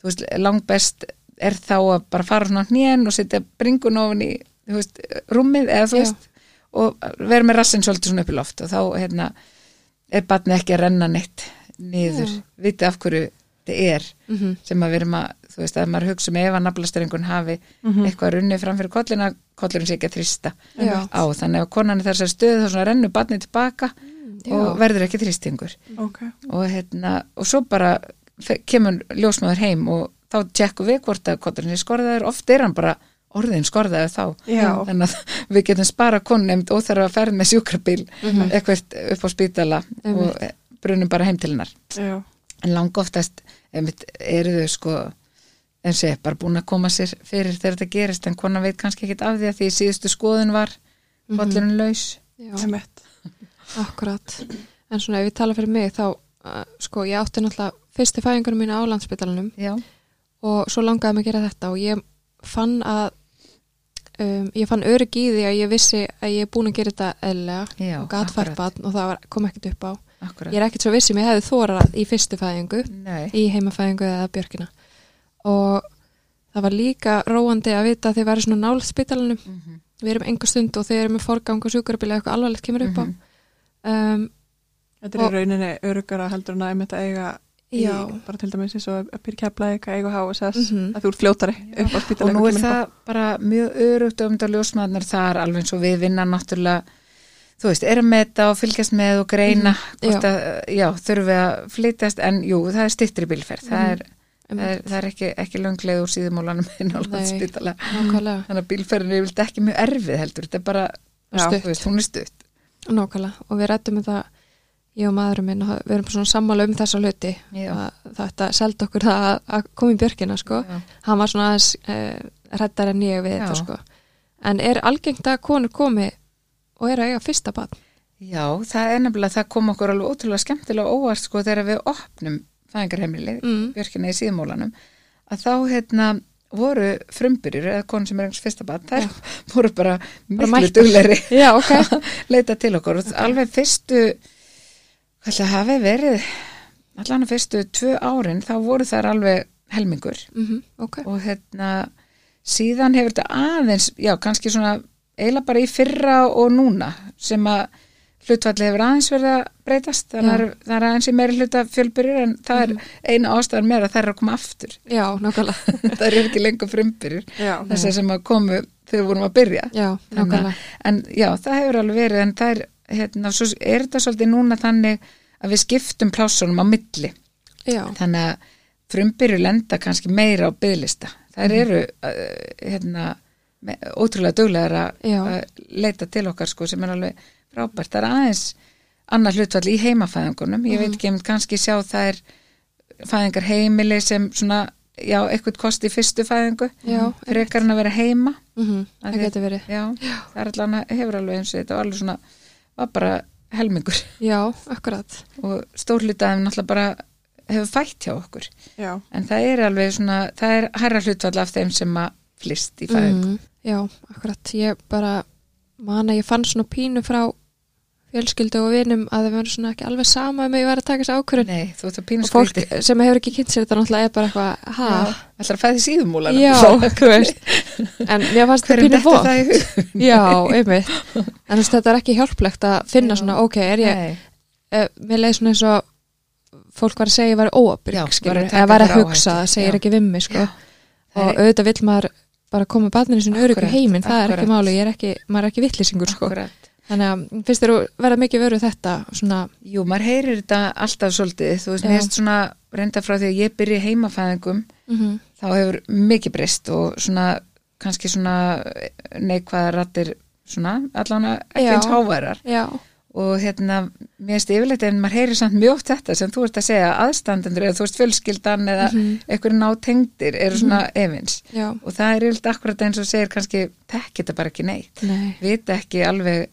þú veist, langbest er þá að bara fara svona hnén og setja bringun ofan í þú veist, rúmið eða þú
Já.
veist og vera með rassin svolítið svona upp í loft og þá hérna, er batni ekki að renna neitt niður,
Já.
viti af hverju þetta er
Mhm.
sem að við erum að, þú veist, að maður hugsa með ef að naflastyringun hafi eitthvað runni fram fyrir kollin að kollurinn sé ekki að þrýsta
Mm. Já.
á, þannig að konan er þessar stöð þá svona rennur barnið tilbaka
já.
og verður ekki þrýstingur
Mhm. ok,
og, hérna, og svo bara fe- kemur ljósmaður heim og þá tjekkum við hvort að kollurinn er skorðaður oft er hann bara orðin skorðaður þá
já,
þannig að við getum spara konu nefnd óþarf að ferð með sjúkrabíl eitthvað upp á spítala
mhm, Mm. Einmitt. Mhm.
og eh, brunum bara heim til hennar
já,
en langa oftast einmitt, eru þau sko en sé, bara búin að koma sér fyrir þegar þetta gerist en konan veit kannski ekkit af því að því í síðustu skoðun var
Mhm.
bollurinn laus
Já.
heimitt,
Akkurat, en svona ef ég tala fyrir mig þá, uh, sko, ég átti náttúrulega fyrsti fæðingunum mína á landspítalanum
já,
og svo langaði mig að gera þetta og ég fann að um, ég fann örygg í því að ég vissi að ég er búin að gera þetta eðlega
Já,
og gat
akkurat.
fært batn og það var, kom ekkert upp á
akkurat
ég er ekkert svo vissi, mér hefði þórað í fyrstu fæðingu
Nei,
í heimafæðingu eða björkina og það var líka róandi að vita að þið væri svona nálægt spítalanum
Mhm.
við erum enga stund og þið erum með forgang og sjúkurabili eða eitthvað alvarlegt kemur upp á
Mhm.
um,
þetta er í
Og-
rauninni örugara heldur en að einmitt að eiga í,
Já.
bara til dæmis eins og að byrja kepla eitthvað eiga HSS,
Mhm.
að þú ert fljótari upp á
og
spítalega
nú er það bara mjög örugt um þetta ljósmaðnar þar alveg eins og við vinna náttúrulega þú veist, erum með þetta og fylgjast með og greina
Mhm. Já.
hvort að, já, þurfi að flytjast en jú, það er styttri bílferð
Mhm.
það er, það er, það er ekki, ekki löngleið úr síðumólanum inn á landspítala
nákvæmlega,
þannig að bílferðin er vilt ekki mjög erfið heldur þetta er bara,
Já.
þú veist, hún er stutt
nákvæmlega og við rættum þetta ég og maðurum minn, og við erum svona sammála um þessa hluti
Já.
að þetta seldi okkur það að- að koma í björkina sko.
Já.
hann var svona aðeins uh, rættar en ég við
Já.
þetta sko. en er algengt að konur komi og er að eiga fyrsta batn
já, það er nefnilega, það kom okkur alveg ótrúlega skemmtilega og óvart sko þegar við opnum fæðingarheimilið,
Mm.
björkina í síðumólanum að þá hérna voru frumbyrjur eða konur sem er einhvers fyrsta bad þær voru bara miklu
mættar.
duglegri
já, ok,
að leita til okkur og alveg fyrstu hvað það hafi verið allan að fyrstu tvö árin þá voru þær alveg helmingur
mm ok
og hérna síðan hefur þetta aðeins já, kannski svona eiginlega bara í fyrra og núna sem að hlutfalli hefur aðeins verið að breytast þannig að það er aðeins í meiri hluta fjölbyrjur en það er eina ástæðan meira að þær eru að koma aftur
já, nákvæmlega
það eru ekki lengur frumbyrjur
já,
þessar sem að komu þegar við vorum að byrja
já,
Þannig
nákvæmlega
að- en já, það hefur alveg verið en það er, hérna, svo er þetta svolítið núna þannig að við skiptum plásunum á milli
já,
þannig að frumbyrju lenda kannski meira á bygglista þær
Mhm.
eru uh, hérna, me- ótrúlega duglegar að-
Já.
að leita til okkar sko, sem er alveg frábært það er aðeins annar hlutfall í heimafæðingunum ég
Mhm.
veit ekki, ég mynd kannski sjá það er fæðingar heimili sem svona, já, eitthvað kosti í fyrstu fæðingu
Já,
frekar en að vera heima
mm
Að
það
þið-
getur verið
já, það er allan að hefur alveg eins og þetta var alveg svona, var bara helmingur
já, akkurat
og stórlitaðum náttúrulega bara hefur fætt hjá okkur
já,
En það er alveg svona, það er herra hlutfall af þeim sem að flist í fæðingu.
mm, já, akkurat ég bara man að ég fann svona pínu frá fjölskyldu og vinum að það verður svona ekki alveg sama um að ég var að taka þessi ákvörun
Nei, þú ert að pínu
og fólk
skríti.
sem hefur ekki kynnt sér þetta náttúrulega er bara eitthvað, ha,
Það ætlar að fæði síðumúlan.
já, þú veist en mér fannst þetta
Hverjum
pínu
detta
von
það í hug?
já, einmitt en þú veist, þetta er ekki hjálplegt að finna svona, ok, er ég
Nei,
uh, mér leið svona eins og fólk var að segja ég var
Já,
óabyrg
var
skilur,
að taka
eða var að
þér
hugsa,
áhættu,
það segir
já.
ekki við mig sko.
Það
og
er-
auðvitað vill maður bara koma barninu sinni öryggu
Akkúrat,
heiminn, það er ekki
akkúrat.
máli, ég er ekki, maður er ekki vittlisingur sko.
akkurat.
þannig að finnst þér að vera mikið vöru þetta svona,
Jú, maður heyrir þetta alltaf svolítið. Þú veist,
Já.
mér erst svona reynda frá því að ég byrja í heimafæðingum,
mm
þá hefur mikið breyst og svona, kannski svona neikvæða rattir svona, allan ekki
Já.
eins háværar.
já,
og hérna, mér finnst yfirleitt en maður heyrir samt mjög oft þetta sem þú ert að segja aðstandendur eða þú veist fjölskyldan eða mm
Mhm.
einhverju nátengdir eru svona
Mhm.
efins
já
og það er yfirleitt akkurat eins og segir kannski tekki þetta bara ekki neitt
nei,
vita ekki alveg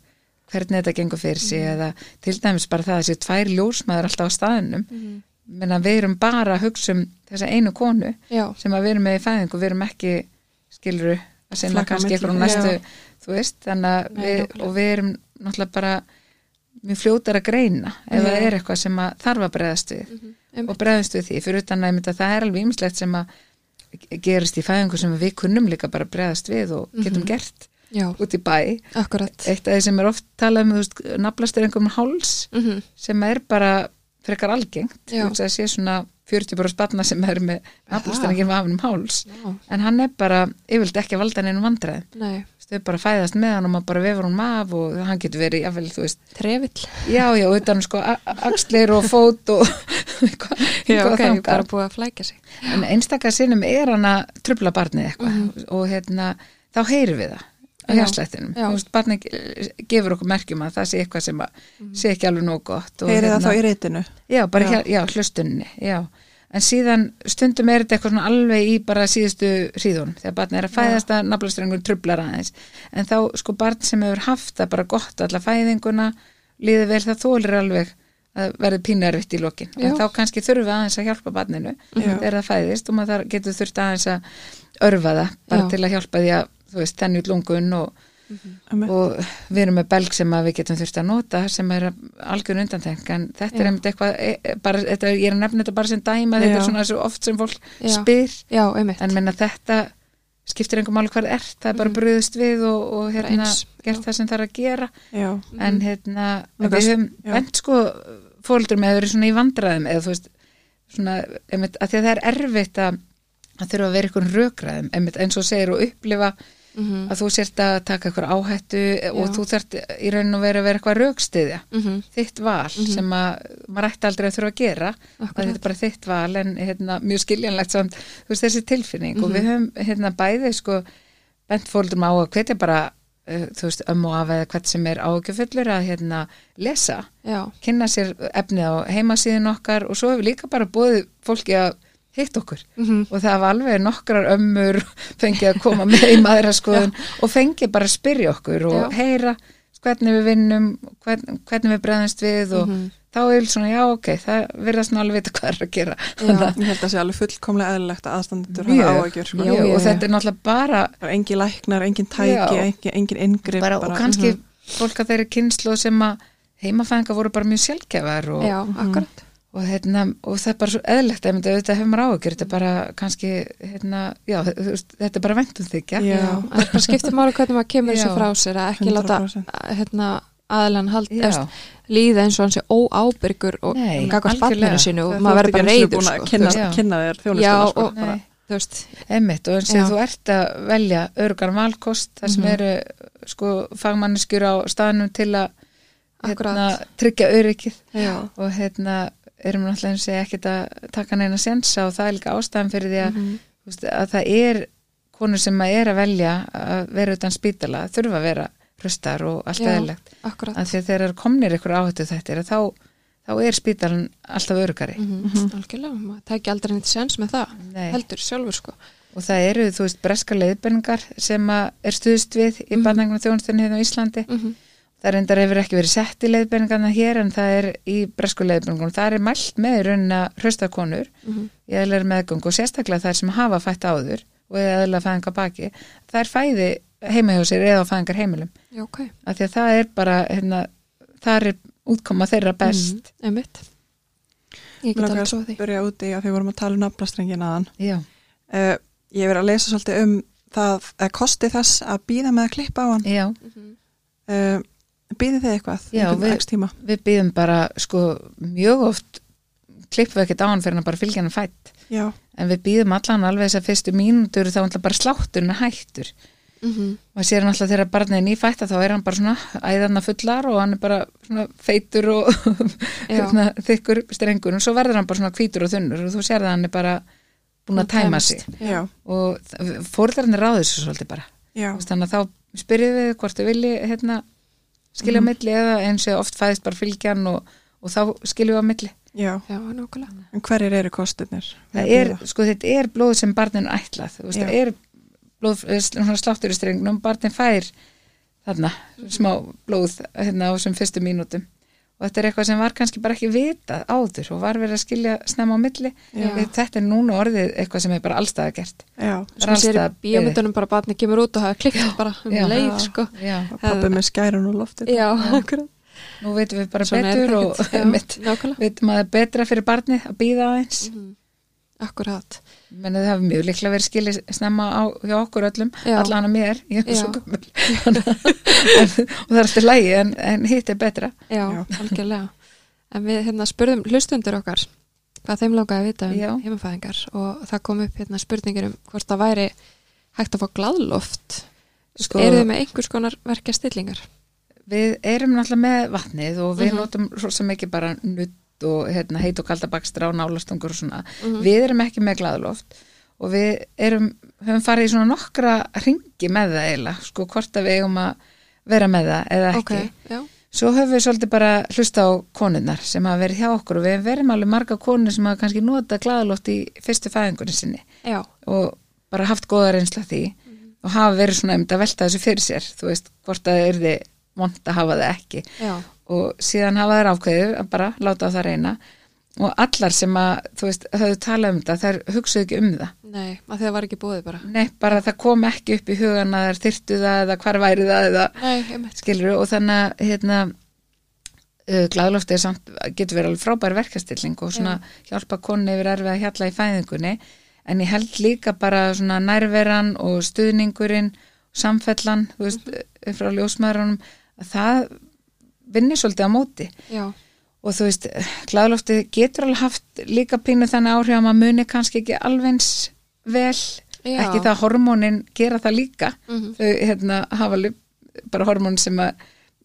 hvernig þetta gengur fyrir sig
Mhm.
eða til dæmis bara það að þessi tvær ljósmaður alltaf á staðinum
Mhm.
menna við erum bara að hugsa um þessa einu konu
já,
sem að við erum með í fæðingu, við erum ekki skiluru að sinna
Flakka á
kannski
milli.
eitthvað um næstu þú veist, þannig að
Nei,
við,
nákvæmlega.
og við erum náttúrulega bara mjög fljótar að greina ef það er eitthvað sem að þarf að bregðast við
einmitt.
og bregðast við því, fyrir utan að einmitt að það er alveg ymslegt sem að gerist í fæðingu sem við kunnum líka bara að bregðast við og
Mhm.
Eh. getum gert
Já,
út í bæ
akkurat.
eitt af því sem er oft talað um þú veist, naflastir einhverjum háls
Mm
sem er bara frekar algengt
Já.
Ég hugsa að sé svona 40 bara spanna sem er með naflastir einhverjum afinum háls
Já,
en hann er bara yfirlt ekki að valda neinum vandræðum
nei,
Þú veist, þau bara fæðast með hann og maður bara vefur hann af og hann getur verið, jafnvel, þú veist
trefill.
já, já, utan sko a- a- axlir og fót og eitthvað
Já,
eitthvað
ok, ég er
þangað.
bara búið að flækja sig.
en einstaka sinnum er hann að trubla barnið eitthvað
Mhm.
og hérna, þá heyrir við það á
Já,
hjárslættinum,
já.
þú veist, barnið ge- gefur okkur merkjum að það sé eitthvað sem að sé ekki alveg nóg gott og
Mhm.
hérna-
heyrið það þá í reytinu
já, bara
Já.
já. Hér, já, hlustunni, já en síðan stundum er þetta eitthvað svona alveg í bara síðustu hríðunum þegar barn er að fæðast að naflastrengur trublar aðeins en þá sko barn sem hefur haft það bara gott alla fæðinguna líði vel það þólir alveg að verði pínarvitt í lokin
Já.
en þá kannski þurfa aðeins að hjálpa barninu
Já.
þegar það fæðist og maður þar getur þurft aðeins að örfa það bara
Já.
til að hjálpa því að þú veist, þenni út lungun og, Mhm.
Einmitt.
og við erum með belg sem að við getum þurft að nota sem er algjör undantenk en þetta er einmitt eitthvað e, e, bara, þetta, ég er að nefna þetta bara sem dæma þetta
Já.
er svona svo oft sem fólk
Já.
spyr
Já, einmitt.
en menna þetta skiptir einhver máli hvað það er það er
Mm.
bara bröðust við og, og hérna,
eins, Mhm.
gert það sem það er að gera
já,
en hérna
Mm. Nú,
við
kannski-
höfum
já.
vent sko fóldur með að vera svona í vandræðum eða þú veist svona, einmitt, að því að það er erfitt að, að þurfa að vera einhvern rökræðum einmitt, eins og þú segir og upplifa
Mhm.
að þú sért að taka einhver áhættu og
Já.
þú þart í raun og vera að vera eitthvað rökstiðja
Mhm.
þitt val sem að maður ætti aldrei að þurfa að gera
Akkurat.
að þetta er bara þitt val en hérna, mjög skiljanlegt samt, þú veist þessi tilfinning og
Mhm.
við höfum hérna bæði sko bent fóldum á að hvetja bara uh, þú veist ömmu og af eða hvert sem er ágjöfullur að hérna lesa
Já,
kynna sér efnið á heimasíðin okkar og svo hefur líka bara búið fólki að hitt okkur
Mhm.
og það hafa alveg nokkrar ömmur fengið að koma með í maðuraskoðun og fengið bara að spyrja okkur og
Já.
heyra hvernig við vinnum hvern, hvernig við bregðast við og
Mhm.
þá er svona já ok það virðast nú alveg vita hvað er að gera
já,
ég held að sé alveg fullkomlega eðlilegt að aðstandendur hafa
Mjög.
áhugjur sko.
Mjög,
já,
og
já.
þetta er náttúrulega bara
Það er engin læknar, engin tæki,
Já.
engin, engin mhm. ingri
bara, og kannski
mhm.
fólk að þeirri kynslu sem að heimafæðinga voru bara mjög sjálfgefar og,
já, akkurat.
og, hérna, og það er bara svo eðlegt að þetta hefur maður áhugjur, þetta er bara kannski hérna, já, þú veist, þetta er bara vendum þykja
Já.
Já, en það bara skiptir máli hvernig maður kemur þessu
Já.
frá sér að ekki láta
100%.
að, hérna, aðlan hald,
Já.
eftir, líða eins og hann sé óábyrgur og
Nei,
gagast
algjörlega.
barninu sínu og maður verður bara reyður sko, þú
kynna,
veist.
Já.
kynna þér
Já,
þjónustuna sko,
og-
bara.
Nei.
þú veist,
Einmitt, og eins og
Já. Mhm.
þú ert að velja örgar valkost, það sem eru sko fagmanniskur á staðnum til að hérna,
Akkúrat.
tryggja öryggið
já,
og hérna erum náttúrulega eins og ekkert að taka neina sensa og það er líka ástæðan fyrir því að,
Mhm.
þú veist, að það er konur sem að er að velja að vera utan spítala, þurfa að vera hröstar og allt
Já.
eðlegt
akkurat
að því að þeir eru komnir ykkur áhættu þættir að þá, þá er spítalan alltaf örgari
Mhm, algjörlega, maður tækja aldrei neitt sens með það
Nei.
heldur sjálfur sko
Og það eru, þú veist, breska leiðbenningar sem að er stuðst við í mm. barnægnum þjónustunni hérna á Íslandi.
Mhm.
Það reyndar hefur ekki verið sett í leiðbenningarna hér en það er í bresku leiðbenningunum. Það er mælt með í raunin að hrausta konur
Mhm.
í eðlar meðgöng og sérstaklega þær sem hafa fætt áður og eðlar fæðingar baki. Það er fæði heima hjá sér eða á fæðingar heimilum.
já, ok,
Af því að það er bara, hérna, þar er útkoma þeirra best.
Mhm. einmitt ég
Mig
get
langar
alveg
að
svo því
byrja úti að því vorum að tala um naflastrengin aðan
Já,
uh, ég hef verið að lesa svolítið um það að kosti þess að býða með að klippa á hann
já.
Mhm.
uh, býði þið eitthvað
Já,
einhvern
við-
X tíma
Við býðum bara, sko, mjög oft klippum við ekkert á hann fyrir hann bara fylgja hann fætt.
já,
en við býðum allan alveg þess að fyrstu mínútur þá er bara slátturinn er hættur
Mhm.
maður sér náttúrulega þegar barnið er nýfætt að þá er hann bara svona æðarna fullar og hann er bara svona feitur og
Já.
hérna, þykkur strengur og svo verður hann bara svona hvítur og þunnur og þú sér það að hann er bara búin
Búinn
að
að
tæma
tæmast.
sig
já,
og fórðarinn ráður svo svolítið bara
já,
Þú veist, þannig að þá spyrjum við hvort þau vilji hérna, skilja á milli eða eins og oft fæðist bara fylgjan og, og þá skiljum við á milli
já.
já, nákvæmlega
en hverjir eru kostinir
það er, sko þetta er blóð sem barnin er ætlað, þú veist,
Já.
það er blóð, eh, svona sláttur í strengnum, barnin fær þarna, smá blóð hérna á þessum fyrstu mínútum og þetta er eitthvað sem var kannski bara ekki vitað áður og var verið að skilja snemma á milli
Já.
þetta er núna orðið eitthvað sem er bara allstaða gert
já,
Svo maður sér í
Rallstað-
bíómyndunum bara batni kemur út og hafa klikt bara um
Já.
leið
Já.
sko.
já,
og pappi með skærun og loftið
Já, akkurat.
nú veitum við bara
Svona er
betur
þetta
og
ekkert. Já,
einmitt,
Nákvæmlega. Mhm.
veitum að það er betra fyrir barnið að býða aðeins
Akkurat.
menn það hafi mjög líklega verið skilið snemma á, hjá okkur öllum,
Já.
allan að mér ég er
Já.
svo gömul en, og það er alltaf lægi en, en hitt er betra
Já,
Já.
algjörlega. En við hérna spurðum hlustundur okkar hvað þeim langaði að vita um
Já.
heimafæðingar og það kom upp hérna spurningir um hvort það væri hægt að fá gladloft.
Sko-
Sko, Eru þið með einhvers konar verkja stillingar?
við erum náttúrulega með vatnið og við
Mhm.
notum svo sem ekki bara nutt og hérna, heit og kalda bakstra og nálastungur og svona.
Mhm.
Við erum ekki með glaðloft og við erum, höfum farið í svona nokkra ringi með það eiginlega, sko hvort að við eigum að vera með það eða ekki.
Ok, já.
Svo höfum við svolítið bara hlusta á konunnar sem hafa verið hjá okkur og við verðum alveg marga konur sem hafa kannski nota glaðloft í fyrstu fæðingunni sinni
Já,
og bara haft góða reynsla af því og hafa verið svona um að velta þessu fyrir sér, þú veist, hvort að það yrði vond að hafa það ekki
já.
og síðan hafa þær ákveðið að bara láta á það reyna og allar sem að, þú veist, höfðu talað um þetta, þær hugsuðu ekki um það.
Nei, að það var ekki búið bara.
Nei, bara það kom ekki upp í hugan að þær þyrtu það eða hvar væri það eða
Nei, einmitt.
skilur og þannig að, hérna, glæðlofti er samt, getur verið alveg frábær verkastilling og svona hjálpa konu yfir erfið að hjalla í fæðingunni en ég held líka bara svona nærveran og stuðningurinn samfellan, þú veist, eh, frá ljósmaðurunum, að það vinnir svolítið á móti
Já,
og þú veist, glæðlofti getur alveg haft líka pínu þannig áhrif að maður muni kannski ekki alvegns vel,
Já.
ekki það að hormónin gera það líka
Mhm.
þau hérna, hafa alveg bara hormón sem að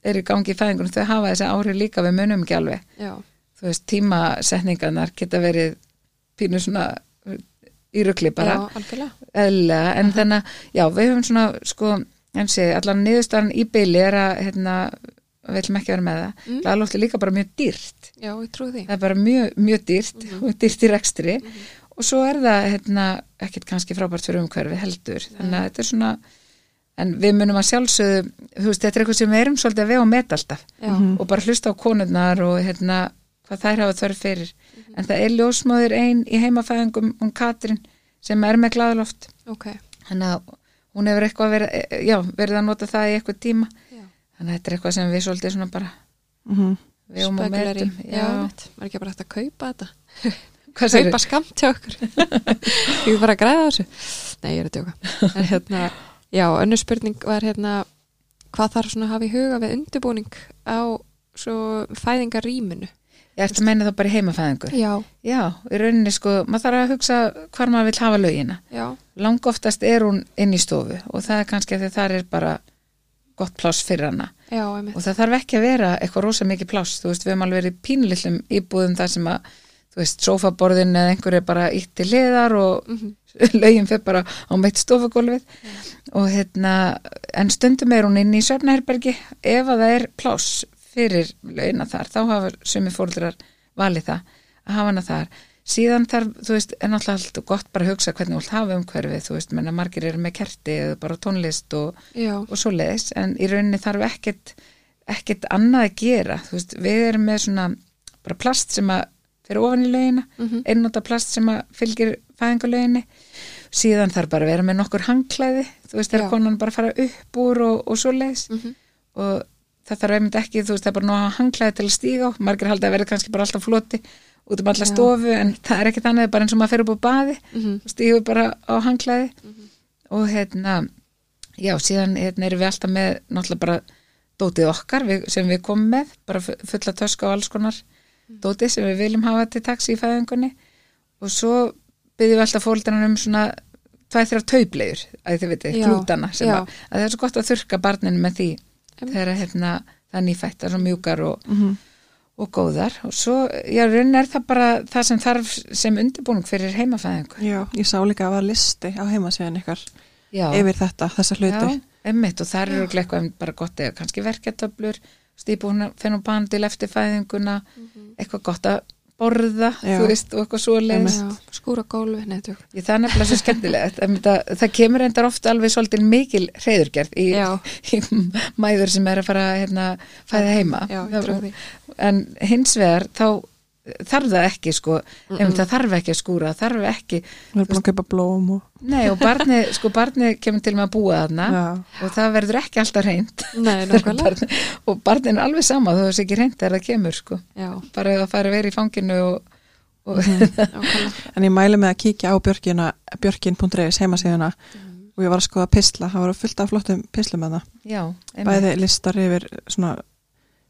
eru í gangi í fæðingunum, þau hafa þessi áhrif líka við munum ekki alveg,
já.
þú veist, tímasetningarnar geta verið pínu svona í rugli bara
Já, algjörlega.
eðlilega, en þannig að, já, við höfum svona, sko, en sé, allan niðurstaðan í byli er að, hérna, við ætlum ekki að vera með það. Mm. Glaðlóft er líka bara mjög dýrt.
Já, ég trúi því.
Það er bara mjög, mjög dýrt, dýrt í rekstri og svo er það, hérna, ekkit kannski frábært fyrir umhverfi heldur. Þannig að þetta er svona, en við munum að sjálfsögðu, þú veist, þetta er eitthvað sem við erum svolítið að vega og meta alltaf
Já,
og bara hlusta á konurnar og hérna, hvað þær hafa þörf fyrir. En það er ljósmóður ein í heimafæðingum, hún Katrin, sem er með glaðloft
ok.
þannig að hún hefur eitthvað verið, e, já, verið að nota það í eitthvað tíma
Já.
þannig að þetta er eitthvað sem við svolítið svona bara
Mhm.
við um og
Spekular í.
metum
Já, einmitt. Var ekki bara hægt að kaupa þetta?
hvað segir
kaupa skamt hjá okkur ég er bara að græða á þessu nei, ég er að djóka en hérna, já, önnur spurning var hérna hvað þarf svona að hafa í huga við undirbúning á svo fæðingarýminu
ég ætti að meina það bara í heimafæðingu
já,
já, í rauninni sko, maður þarf að hugsa hvar maður vil hafa lögina
já,
lang oftast er hún inn í stofu og það er kannski af því að það er bara gott pláss fyrir hana
já, einmitt
og það þarf ekki að vera eitthvað rosa mikið pláss þú veist, við höfum alveg verið í pínlillum íbúðum þar sem að, þú veist, sofaborðin eða einhver er bara ítt til hliðar og mm
Mhm.
lögin fyrir bara á meitt stofagólfið og hérna en stundum er hún inn í Sörnaherbergi ef að það er pláss fyrir lögina þar, þá hafa sumi fóruldrar valið það, að hafa hana þar síðan þarf, þú veist, er náttúrulega allt gott bara að hugsa hvernig hún hafa umhverfið þú veist, menna margir eru með kerti eða bara tónlist og
já,
og svo leiðis, en í rauninni þarf ekkit, ekkit annað að gera þú veist, við erum með svona bara plast sem að fyrir ofan í lögina mm
Mhm.
-hmm. einnóta plast sem að fylgir fæðingalöginni, síðan þarf bara að vera með nokkur hangklæði, þú veist,
Já.
þegar konan bara fara upp úr og, og svo leiðis
Mhm.
og það þarf einmitt ekki, þú veist, það er bara nóg að hafa hangklæði til að stíga á, margir halda að vera kannski bara alltaf floti út um alla
Já.
stofu en það er ekki þannig, það er bara eins og maður fer upp á baði
Mhm.
og stígur bara á hangklæði og hérna já, síðan hérna erum við alltaf með náttúrulega bara dótið okkar við, sem við komum með, bara fu- fulla tösku á alls konar
Mhm.
dótið sem við viljum hafa til taxi í fæðingunni og svo byggjum við alltaf fóldarnar um svona tvær þrjá tauplegur að þið veitir,
Já,
klútana sem
já.
að, að það er svo gott að þurka barninu með því
Einmitt.
þegar hérna, það er nýfætt, það er svo mjúkar og,
mhm.
og góðar og svo, já, raun er það bara það sem þarf sem undirbúning fyrir heimafæðingu
já, ég sá líka að var listi á heimasíðan ykkar
Já,
yfir þetta, þessa hluti
já, emmitt og það eru eitthvað um bara gott eða kannski verketöflur, stípuna fenn og bandi, leftifæðinguna eitthvað gott að borða,
Já.
þú veist, og eitthvað svoleiðis.
Mhm. Já, skúra gólfi, neðu
Ég, það er nefnilega svo skemmtilegt. Það, það, það kemur endar ofta alveg svolítið mikil reyðurgerð í,
Já.
í mæður sem er að fara hérna, fæða heima.
Já, ég
Það-
trúi því.
en hins vegar þá þarf það ekki sko, mm það þarf ekki að skúra, þarf ekki,
Við erum búin að kaupa blóm og...
nei og barnið, sko barnið kemur til með að búa þarna
Já.
og það verður ekki alltaf reynd
Nei, nákvæmlega.
og barnið er alveg sama þó þess ekki reynd þegar það kemur sko,
Já,
bara að fara að vera í fanginu og, og
ákvæmlega.
En ég mæli með að kíkja á björkina, björkin.reis heimasíðuna og ég var að skoða pistla, það voru fullt af flottum pislum með það.
já, einmitt,
Bæði listar yfir svona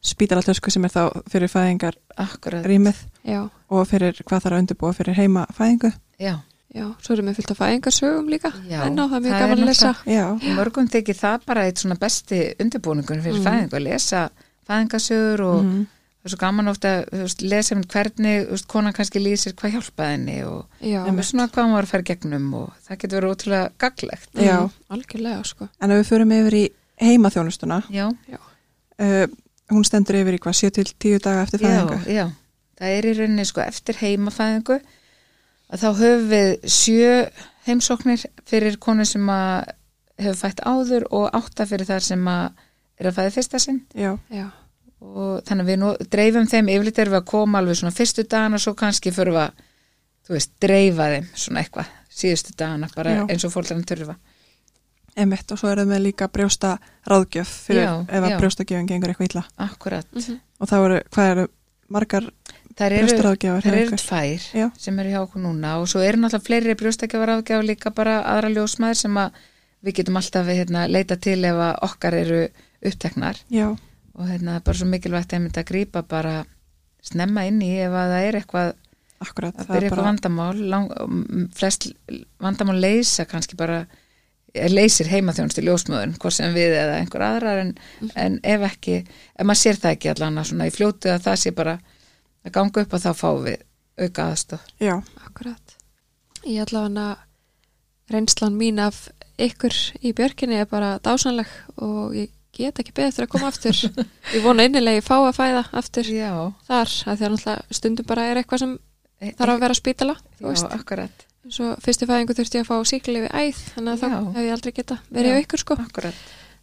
spítalatösku sem er þá fyrir fæðingar
akkurat,
rýmið
Já,
og fyrir hvað þarf að undirbúa fyrir heima fæðingu.
já,
já, svo erum við fyllt að fæðingarsögum líka
Já,
en á það er mjög
það
gaman
er
að lesa
Já,
mörgum tekið það bara eitt svona besti undirbúningur fyrir fæðingu að lesa fæðingasögur og
Mm. Mhm.
það er svo gaman ofta að lesa um hvernig þú veist, konan kannski lýsir hvað hjálpaði henni og
Já,
og svona hvað maður fær gegnum og það getur verið ótrúlega gaglegt
já.
mm, algjörlega sko
En ef við förum yfir í heimaþjónustuna,
já,
Já,
uh, hún stendur yfir í hvað, 7 til 10 daga eftir
já,
fæðingu.
já það er í rauninni sko eftir heimafæðingu að þá höfum við sjö heimsóknir fyrir konu sem að hefur fætt áður og átta fyrir þar sem að er að fæða fyrsta sinn
Já,
já,
og þannig að við nú dreifum þeim yfirleitt erum við að koma alveg svona fyrstu dagana og svo kannski fyrir að þú veist, dreifa þeim svona eitthvað síðustu dagana bara
Já.
eins og fólkarinn törfa
emitt og svo erum við líka brjósta ráðgjöf fyrir
Já,
ef að
já.
brjóstagjöfing gengur eitthvað illa.
akkurat
Mhm.
Og það eru, hvað eru margar
Það eru,
Brjóstaráðgjafar hjá
þær eru
ykkur.
tvær
Já.
sem eru hjá okkur núna og svo eru náttúrulega fleiri brjóstakjafarafgjafar líka bara aðra ljósmaður sem að við getum alltaf hérna, leita til ef að okkar eru uppteknar
Já,
og hérna, bara svo mikilvægt einmitt að grípa bara snemma inn í ef að það er eitthvað
akkurat.
að byrja eitthvað vandamál lang, m- flest vandamál leysa kannski bara eh, leysir heimaþjónustu ljósmöðun hvort sem við eða einhver aðrar en, en ef ekki, ef maður sér það ekki allan að svona í fljótu að það sé bara að ganga upp að þá fáum við auka aðstof
Já,
akkurat Ég ætla hann að reynslan mín af ykkur í björkinni er bara dásanleg og ég get ekki beðið eftir að koma aftur Ég vona innilega ég fá að fæða aftur
Já,
þar, af því að náttúrulega stundum bara er eitthvað sem
e-
þarf að vera á spítala þú
já,
veist,
akkurat,
svo fyrstu fæðingu þurfti ég að fá síkli við æð, þannig að
Já.
þá hef ég aldrei geta verið
Já.
á ykkur sko
akkurat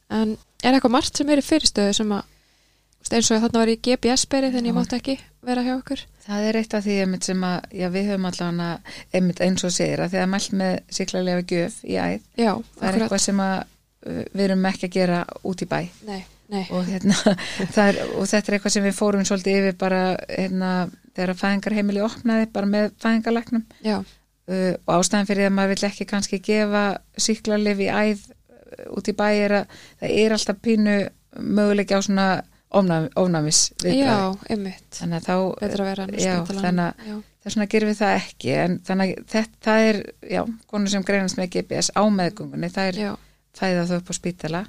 En er eitthvað margt sem er í fyrirstöðu sem að þú veist, eins og þarna var ég GPS-beri þannig ég mátti ekki vera hjá okkur
Það er eitt af því einmitt sem að, já við höfum allan að, einmitt eins og segir að því að mælt með siklalega gjöf í æð,
Já,
það er
akkurat
eitthvað sem að uh, við erum ekki að gera út í bæ.
Nei, nei,
og, hérna, það er, og þetta er eitthvað sem við fórum svolítið yfir bara hérna, þegar að fæðingarheimili opnaði bara með fæðingarlegnum
já,
uh, og ástæðan fyrir því að maður vill ekki kannski gefa síklarlif í æð uh, út í bæ er að það er alltaf pínu möguleiki á svona ofnæmi, ofnæmis
já,
viðbragði.
einmitt
þannig að þá
Betra að vera hann
já, þannig að
Já,
þess vegna gerum við það ekki en þannig að þetta, það er, já, konur sem greinast með GPS á meðgungunni, það er
já,
fæða þau upp á spítala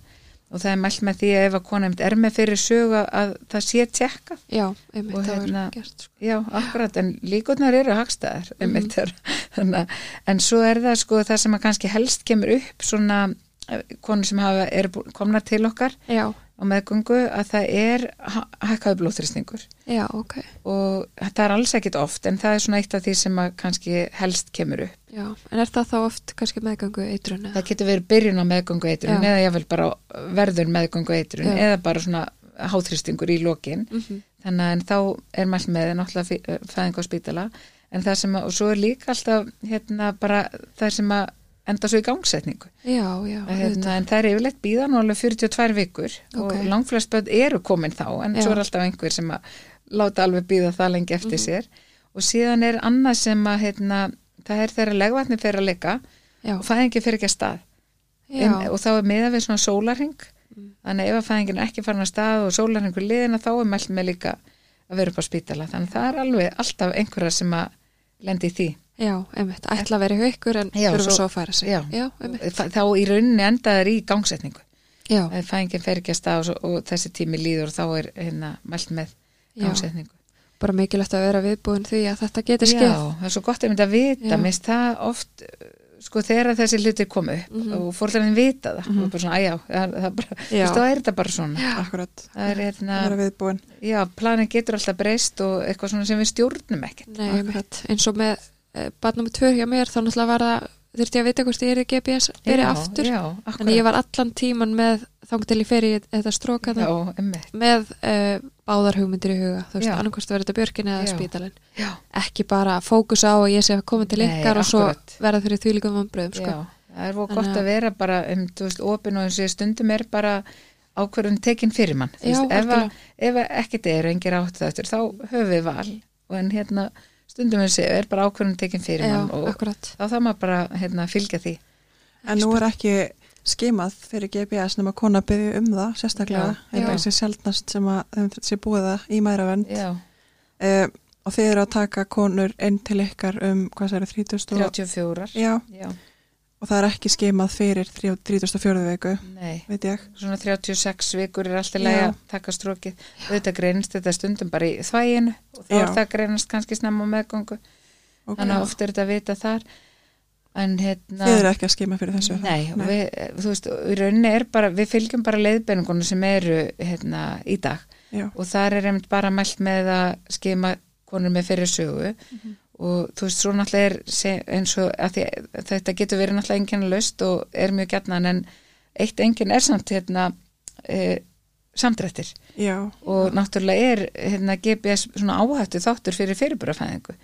og það er mælt með því að ef að kona einmitt er með fyrir sög að, að það sé tjekka
já, einmitt
Og
það
hérna,
var gert sko.
já, akkurat, en líkurnar eru hagstæðar einmitt mm þannig að en svo er það sko það sem að kannski helst kemur upp svona eh, konur sem hafa, er komnar til okkar
Já,
á meðgöngu að það er ha- hækkaður blóþrýstingur
já, ok
og það er alls ekkit oft en það er svona eitt af því sem að kannski helst kemur upp
Já, en er það þá oft kannski meðgöngu eitrun eða?
Það getur verið byrjun á meðgöngu eitrun
Já.
eða jáfnvel bara verður meðgöngu eitrun
Já.
eða bara svona háþrýstingur í lokin.
Mhm.
Þannig að en þá er mælt með náttúrulega fí- eh, fæðing á spítala en það sem að, og svo er líka alltaf hérna bara það sem að enda svo í gangsetningu.
Já, já,
Að, Hérna, en það er yfirleitt býða nú alveg 42 vikur
Ok.
og langflest börn eru komin þá en
Já. Mhm.
svo er alltaf einhver sem að láta alveg býða það lengi eftir sér og síðan er annað sem að hérna, það er þegar legvatni fer að leika
já,
og fæðingi fer ekki að stað
já,
en, og þá er miða við svona sólarhing þannig að ef að fæðingin er ekki farin að stað og sólarhingur liðina þá er mælt með líka að vera upp á spítala þannig að það er alveg alltaf einhverja sem að lendi í því
já, einmitt ætla að vera hjá ykkur en
Já,
þurfa
svo-
svo að færa sig
já.
já einmitt,
Fa- þá í rauninni enda það er í gangsetningu
já,
að fæðingin fer ekki að stað og, svo- og þessi tími líður og þá er hérna, mælt með
Já.
gangsetningu
bara mikilvægt að vera viðbúin því að þetta
Já,
getur skeið
það er svo gott að mynda að vita
Já.
minnst það oft uh, sko þegar að þessi hluti komu upp og fórlæðin vita það, mm -hmm. bara svona, æjá, það, það bara, þú
Mhm. Já.
veist, þá er þetta bara svona.
akkurat,
Ah, Það er hérna,
það er viðbúin
já, planin getur alltaf breyst og eitthvað svona sem við stjórnum ekkert.
Nei, einmitt. eins og með eh, barnum með tvör hjá mér þá náttúrulega var það þurfti ég að vita hvort ég er í GPS byrja
Já,
aftur,
Já,
þannig ég
akkurat.
var allan tíman með þangtil í fyrir þetta stróka
Já, emmitt.
með uh, báðar hugmyndir í huga þú veist,
Já.
annarkvæmst verður þetta björkin eða
Já.
spítalinn
Já,
ekki bara fókus á að ég sé að koma til
Nei,
ykkar og svo
akkúrat.
verða fyrir því líka vombröðum sko.
já. Það er voru
Þannig
gott
að-
að vera bara, um, þú veist, opin og eins og ég stundum er bara ákvörðun tekin fyrir mann. Þú
Já,
veist, ef, að,
algjörlega.
ef að ekkert er og engir átt þetta, þá höfum við val. Og en hérna, stundum eins og ég er bara ákvörðun tekin fyrir
já,
mann og
akkurat
þá þarf maður bara hérna, að fylgja því.
en nú er ekki skimað fyrir GPS nema kona byrju um það sérstaklega,
Já,
það
já.
er sér sjaldnast sem að þeim sé búið það í mæravend
Já,
uh, og þið eru að taka konur inn til ykkar um, hvað það eru, 30 og,
34.
já,
Já,
og það er ekki skimað fyrir 34. viku,
nei.
veit ég
Svona 36 vikur er alltaf
Já.
læg að taka strókið. Þetta greinst þetta stundum bara í þvæginu og þá
Já.
er það greinast kannski snemma á meðgöngu.
okay.
Þannig að oft er þetta að vita þar. En hérna...
þið eru ekki að skima fyrir þessu
Nei, og við, þú veist, í rauninni er bara, við fylgjum bara leiðbeiningunum sem eru hérna í dag
já,
og þar er einmitt bara mælt með að skema konur með fyrir sögu
Mhm.
og þú veist, svo náttúrulega er se- eins og að því, þetta getur verið náttúrulega enginn löst og er mjög gætnan en eitt enginn er samt hérna e, samdrættir
já,
og náttúrulega er hérna, GPS svona áhættu þáttur fyrir fyrirburafæðingu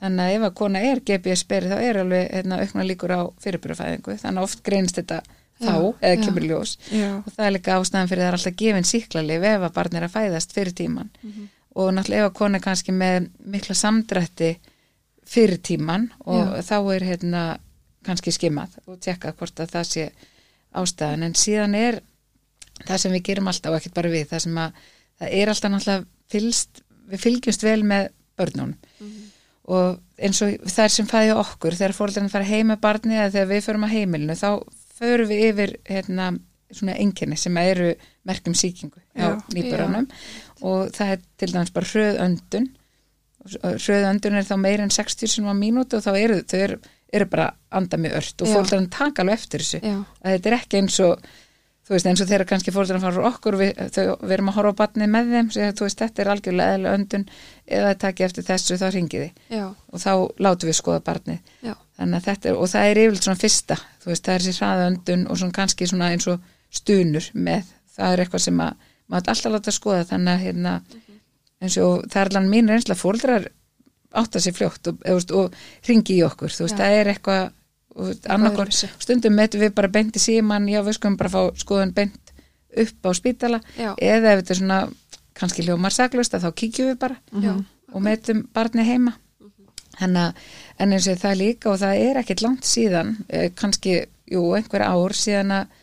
þannig að ef að kona er GPS berið þá er alveg hérna, aukna líkur á fyrirburafæðingu þannig að oft greinst þetta þá
Já,
eða
já.
kemur ljós
já,
og það er líka ástæðan fyrir það er alltaf gefin síklarlif ef að barn er að fæðast fyrir tíman og náttúrulega ef að kona er kannski með mikla samdrætti fyrir tíman og þá er hérna kannski skimað og tekka hvort að það sé ástæðan en síðan er það sem við gerum alltaf og ekkert bara við það sem að það er alltaf náttúrulega fylgst, við fylgjumst vel með börnunum og eins og þær sem fæði okkur þegar fóreldrarnir fara heim með barni eða þegar við förum að heimilinu þá förum við yfir hérna, svona enginni sem eru merkjum sýkingu
Já.
á nýburanum og það er til dæmis bara hröð öndun hröð öndun er þá meir en 60 sem á mínútu og þá eru þau eru, eru bara að anda mjög ört og
Já.
fóreldrarnir taka alveg eftir þessu
já,
að þetta er ekki eins og þú veist eins og þeirra kannski fóreldrarnir fara frá okkur við, þau, við erum að horfa á barnið með þeim segja, þú veist þetta er algjörlega eðla öndun eða takk eftir þessu þá ringi þið
já,
og þá látum við skoða barnið
já,
þannig að þetta er, og það er yfirleitt svona fyrsta þú veist, það er sér hraðöndun og svona kannski svona eins og stunur með það er eitthvað sem að, maður ætti alltaf að láta skoða þannig að hérna eins og það er allan mín reynsla fóldrar átta sér fljótt og, eða, þú veist, og ringi í okkur, þú veist,
Já.
það er eitthvað og þú veist, annarkor,
öðruvísi.
stundum metum við bara beint í síman, já við skulum bara fá skoðun beint upp á spítala
Já.
eða ef þetta er svona kannski hljómar saklust að þá kíkjum við bara
já,
og metum barni heima Hanna, en eins og það líka og það er ekkit langt síðan eh, kannski, jú, einhver ár síðan að,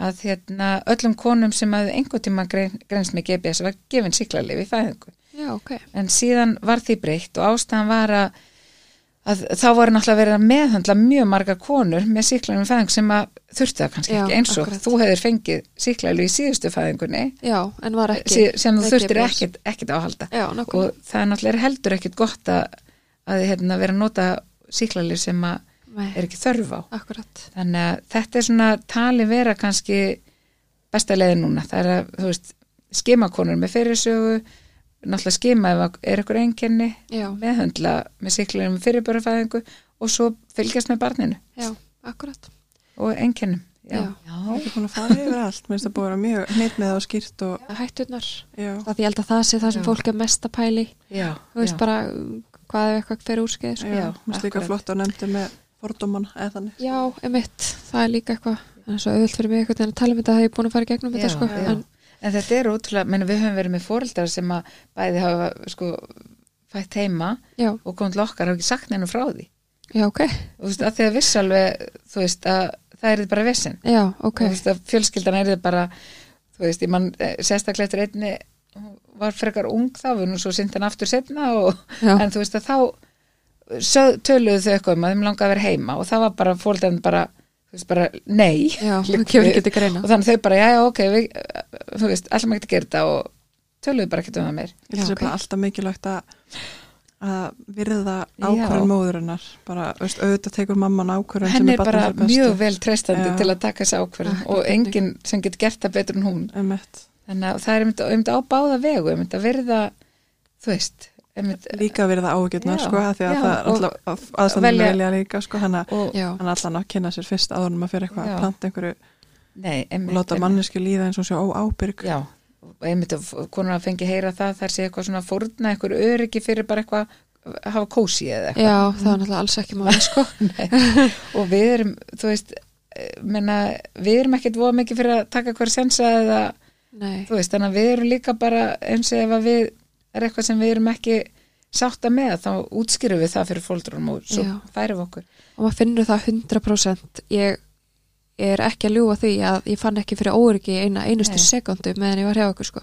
að hérna, öllum konum sem hafði einhvern tíma grein, greinst með GPS var gefin síklarlif í fæðingu
já, ok
en síðan var því breytt og ástæðan var að, að þá var náttúrulega verið að meðhandla mjög marga konur með síklarlif í fæðingu sem að þurfti það kannski
Já,
ekki eins og
akkurat.
þú hefur fengið síklarlif í síðustu fæðingunni
já, en var ekki
sí- sem þú
með
þurftir
GPS.
ekkit, ekkit á að halda
já, nokkuð,
og það er náttúrulega heldur ekkit gott að, að hérna, vera að nota síklarlif sem að
nei,
er ekki þörf á
akkurat
þannig að þetta er svona tali vera kannski besta leiði núna það er að, þú veist, skimakonur með fyrirsögu náttúrulega skima ef að er ykkur einkenni
já,
meðhöndla með síklarlif með fyrirbörafæðingu og svo fylgjast með barninu
já, akkurat
og einkennum
Já.
Já.
ekki búin að fara yfir allt mér finnst það búið að vera mjög neitt með það og skýrt og
hættunar,
já,
það ég held að það sé það sem
Já.
fólk er mest að pæli
Já.
þú veist
Já.
bara um, hvað ef eitthvað fer úrskeið sko.
já, já
Já,
mér slíka
akkurat.
flott og nefndi með fordóman eða þannig
Já, emitt, það er líka eitthvað en svo auðvöld fyrir mig eitthvað en að tala um þetta það er ég búin að fara í gegnum þetta
Já,
sko
já.
en,
En þetta er útrúlega, menn við höfum verið með fóreldrar sem að bæði hafa sko fætt heima
já,
og komið til okkar hafa ekki sagt neina frá því.
já, ok
Þú veist, að því að viss alveg, þú veist, að það er bara vissin.
Já, ok,
Þú veist, að fjölskyldan er þetta bara, þú veist, ég mann eh, sérstaklega eftir einni hún var frekar ung þá, við nú svo sint hann aftur setna og,
Já.
en þú veist að þá sög, töluðu þau eitthvað um að þeim langaði að vera heima og það var bara fóreldarinn bara, þú veist, bara nei.
já, það kemur ekki til greina
og þannig þau bara, já, já, ok við, eh, þú veist, allir maður ekki að gera þetta og töluðu bara ekki um það meir
Ég held að
Já,
það sé
ok.
bara alltaf mikilvægt að að virða
Já.
ákvörðun móðurinnar bara, veist, auðvitað tekur mamman ákvörðun sem
henn er
er
bara mjög vel trestandi
Já. Ah,
til að taka þessi ákverðin
Ekki
og
spurning.
enginn sem getur gert það betur en hún
Emmett.
þannig að það er einmitt, einmitt á báða vegu einmitt að verða, þú veist einmitt,
líka virða ágjörnar
Já.
sko, af því að
Já,
það er
og
alltaf aðstæðan
velja-
velja líka sko, hann að
og,
Já,
hann allan að kynna sér fyrst áður en maður fyrir eitthvað
Já.
að planta einhverju
nei,
og
einmitt,
láta
einmitt.
manneski líða eins og sé óábyrg
Já, og einmitt að konar að fengi heyra það þar sé eitthvað svona fórna, eitthvað öryggi fyrir bara eitthvað að hafa kósi eða
já það var náttúrulega alls ekki máli sko.
eitthvað og við erum, þú veist eh, menna, við erum ekkert voða mikið fyrir að taka hver sensa eða,
Nei,
þú veist, þannig að við erum líka bara eins og ef að við er eitthvað sem við erum ekki sátta með þá útskýrum við það fyrir fóldrunum og svo
Já.
færum við okkur
og maður finnur það 100% ég er ekki að ljúga því að ég fann ekki fyrir óryggi í eina einustu
Nei.
sekundu meðan ég var hjá okkur sko.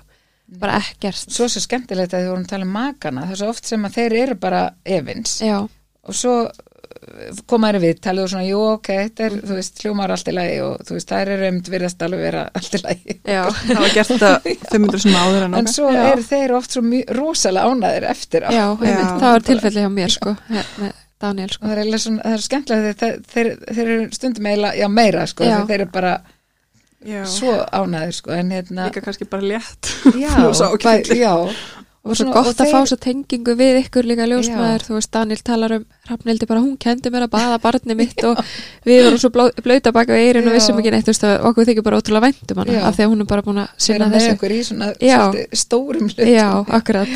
bara ekkert
svo er svo skemmtilegt að þið vorum að tala um makana það er svo oft sem að þeir eru bara evins
já,
og svo eh, koma þær í viðtalið og svona, jú, ok, þetta
Mhm.
er, þú veist, hljómar allt í lagi og þú veist, þær eru um virðast alveg vera allt í lagi.
já,
það var gert þetta 500 sem áður en,
En
okkar.
svo
Já.
eru þeir oft svo mjö, rosalega ánæðir eftir á.
já,
Já.
það var tilfelli hjá mér sko, hér- með Daniel
Og
sko.
það er eiginlega svona, það er skemmtilega þegar þeir, þeir, þeir eru stundum eiginlega, já, meira, sko,
Já.
þegar þeir eru bara
Já.
svo ánæðir, sko, en hérna,
líka kannski bara létt
já,
brosa og
bæ-
kyllir.
já,
og svo
svona-
gott að
þeir-
fá svo tengingu við ykkur líka ljósmaður, þú veist Daniel talar um Rafnildi bara, hún kendi mér að baða barni mitt og við vorum svo bló- blauta baka við eirin og
Já.
vissum ekki neitt, þú veist að okkur þykir bara ótrúlega væntum hana,
Já.
af því að hún er bara búin að
Þeir eru
sinna
með
þessu
ykkur í svona
Já.
svolítið stórum hlut.
já, akkurat,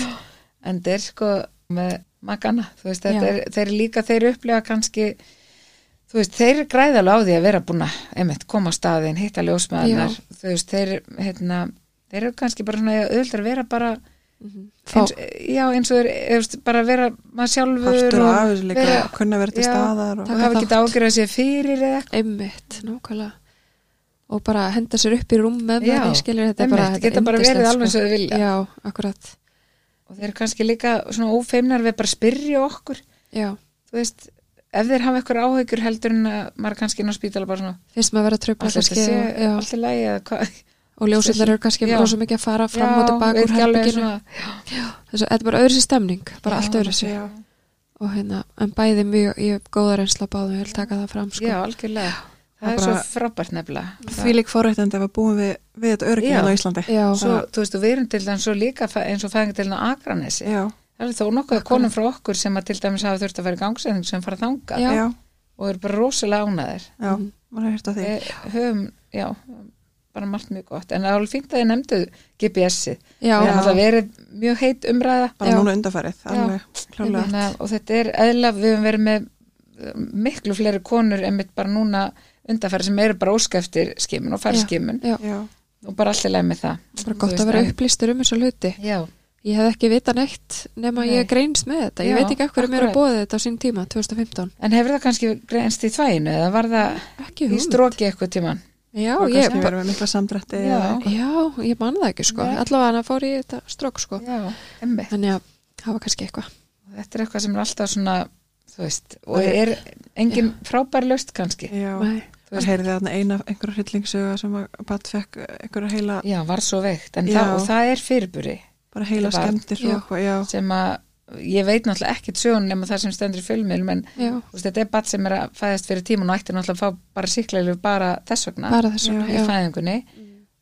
en þeir sko með magana, þú veist, þetta
Já.
er, þeir líka þeir upplifa kannski þú veist, þeir græða alveg á því að vera búin að einmitt, koma á staðin, hitta ljósmaðunar þú veist, þeir, hérna þeir eru kannski bara svona auðvitað að vera bara
Mhm. Fá-
eins, já, eins og þeir þú veist, bara vera maður sjálfur
partur og
og
afis líka
vera-
kunna vera til
Já.
staðar og,
Taka
hafa ekki
þátt.
ágjörða sér fyrir eða eitthvað
einmitt, nákvæmlega og bara henda sér upp í rúm með
Já,
manni, skilur þetta er
einmitt,
bara þetta er
geta bara
yndislegt,
verið alveg eins og þau vilja.
já, akkurat,
og þeir eru kannski líka svona ófeimnar við bara að spyrja okkur
já,
þú veist, ef þeir hafa eitthvað áhyggjur heldur en að maður er kannski inn á spítala bara svona,
finnst maður að vera tröfla
allt þetta sé,
já,
allt í lagi eða hvað
og ljósundar eru kannski
Já.
rosa mikið að fara fram og tilbaka úr
veit ekki alveg
herbygginu
svona-
þess að þetta er bara öðru sér stemning bara
Já,
allt öðru sér
já.
og hérna, en bæði mjög, ég hef góða reynsla á báðum, ég vil taka það fram sko.
Já, algjörlega. Það,
Það
er
bara-
svo frábært nefnilega.
því lík forrættandi ef að búum við, við þetta öryggi
Já.
hérna á Íslandi
já,
Svo, þú veist, og við erum til dæmis svo líka fæ- eins og fæðingatilin á Akranesi.
já,
Það er þó nokkuð konum frá okkur sem að til dæmis hafa þurft að vera í gangsetning sem fara þangað
Já.
já, já,
og eru bara rosalega ánaðir.
já. maður hefur hérta því
Við höfum, já, bara margt mjög gott. En það er alveg fínt að þið nefndu GPS-ið.
já,
Já.
Það er alltaf verið mjög heit umræða
bara
Já.
núna undarfærið alveg klálega
Þannig að- og þetta er eðla, við höfum verið með eh, miklu fleiri konur einmitt bara núna undarfæri sem eru bara óskæftir skimun og færskimun
já,
já,
og bara allir leið með það.
bara
Þú
gott
veist,
að vera
en-
upplýstur um þessu hluti
Já,
ég hef ekki vita neitt nema
Nei.
ég greinst með þetta, ég
Já,
veit ekki af hverju mér er
akkurat.
bóðið þetta á sín tíma, 2015
en hefur það kannski greinst í þvæginu eða var það
ekki
í
hugmynd
stróki eitthvað tíman?
já,
og
ég,
kannski verið með mikla samdrætti
Já.
eða-
já, ég man það ekki sko
Nei.
allavega hann að fór í þetta strók sko
Já, emmi.
þannig að það var kannski eitthvað
Þetta er eitthvað sem er alltaf svona, þú veist, og
Það
er engin frábær löst kannski.
já,
Nei.
Þú
það
veist-
heyrði þarna eina einhverja hryllingsuga sem að Pat fekk einhverja heila,
Já, var svo veikt, en
Já.
það, og það er fyrirburi
bara heila
Þetta var-
skemmtir
Já.
og eitthvað, já,
sem að ég veit náttúrulega ekkert sögun nema það sem stendur í fjölmiðlum en
já,
þú veist, þetta er bat sem er að fæðast fyrir tíman og ætti náttúrulega að fá bara síkleilu bara þess vegna
bara þess vegna
Já.
í
já.
fæðingunni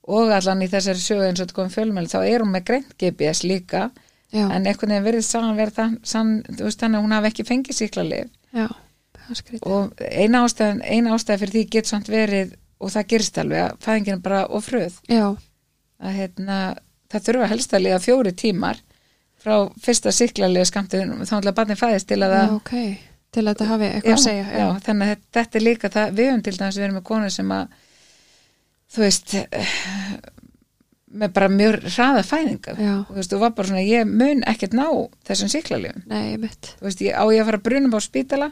og allan í þessari sögu eins og þetta kom fjölmiðl þá er hún með greint GPS líka
Já.
en einhvern veginn verðist sagan verið þann, sann, þú veist þannig að hún hafi ekki fengið síklarlif
já, það er skrítið
og eina ástæðan, eina ástæðan fyrir því get samt verið og það gerist alveg að fæðingin er bara og fröð
já,
að hérna, það þurfa helst að liða fjóri tímar frá fyrsta síklarlif skamtiðin þá ætla að barnið fæðist til að
já,
það
ok til að þetta hafi eitthvað að segja
já. þannig að þetta, þetta er líka það, við höfum til dæmis verið með konu sem að þú veist eh, með bara mjög hraða fæðingar
Já.
þú veist, þú var bara svona, ég mun ekkert ná þessum síklarlifum,
nei, mitt
þú veist, ég, á ég að fara að brunum á spítala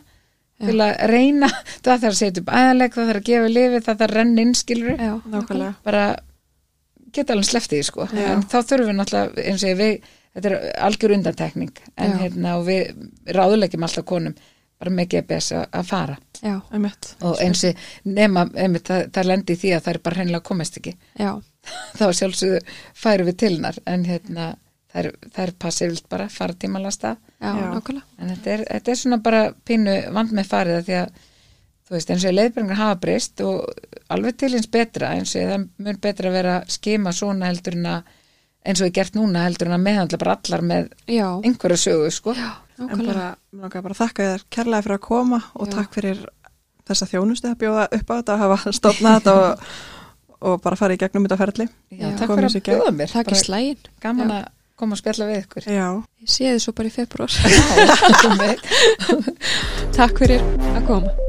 Já.
til að reyna það þarf að setja upp aðaleg, það þarf að gefa lifi það þarf að renna innskilur
já,
nákvæmlega
bara geta alveg sleftið sko,
Já.
en þá þurfum við náttúrulega eins og ég, við, þetta er algjör undantekning en
Já.
hérna og við ráðulegjum alltaf konum bara með GPS að- að fara
já,
einmitt,
og eins og nema, einmitt, það, það lendi í því að það er bara hreinlega komast ekki
já,
þá sjálfsögðu færum við tilnar en hérna, það þær, þær passir vilt bara fara tímalasta
já,
Já.
nákvæmlega
en þetta er, þetta er svona bara pínu vand með farið að því að þú veist eins og leiðbæringar hafa breyst og alveg til eins betra eins og það mun betra að vera að skima svona heldur en að eins og er gert núna heldur en að meðhandla bara allar með
já,
einhverja sögu sko
já,
En
nákvæmlega
bara, mér langar bara að þakka þér kærlega fyrir að koma og
Já.
takk fyrir þessa þjónustu að bjóða upp á þetta að hafa stofnað þetta og, og bara fara í gegnum þetta ferli.
Já,
Já.
takk
Komið sér
fyrir að
í gegn.
bjóða mér
takk í
bara
slægin
gaman
Já.
að koma og spjalla við ykkur
Já.
ég sé þið svo bara í februar
Já,
takk fyrir að koma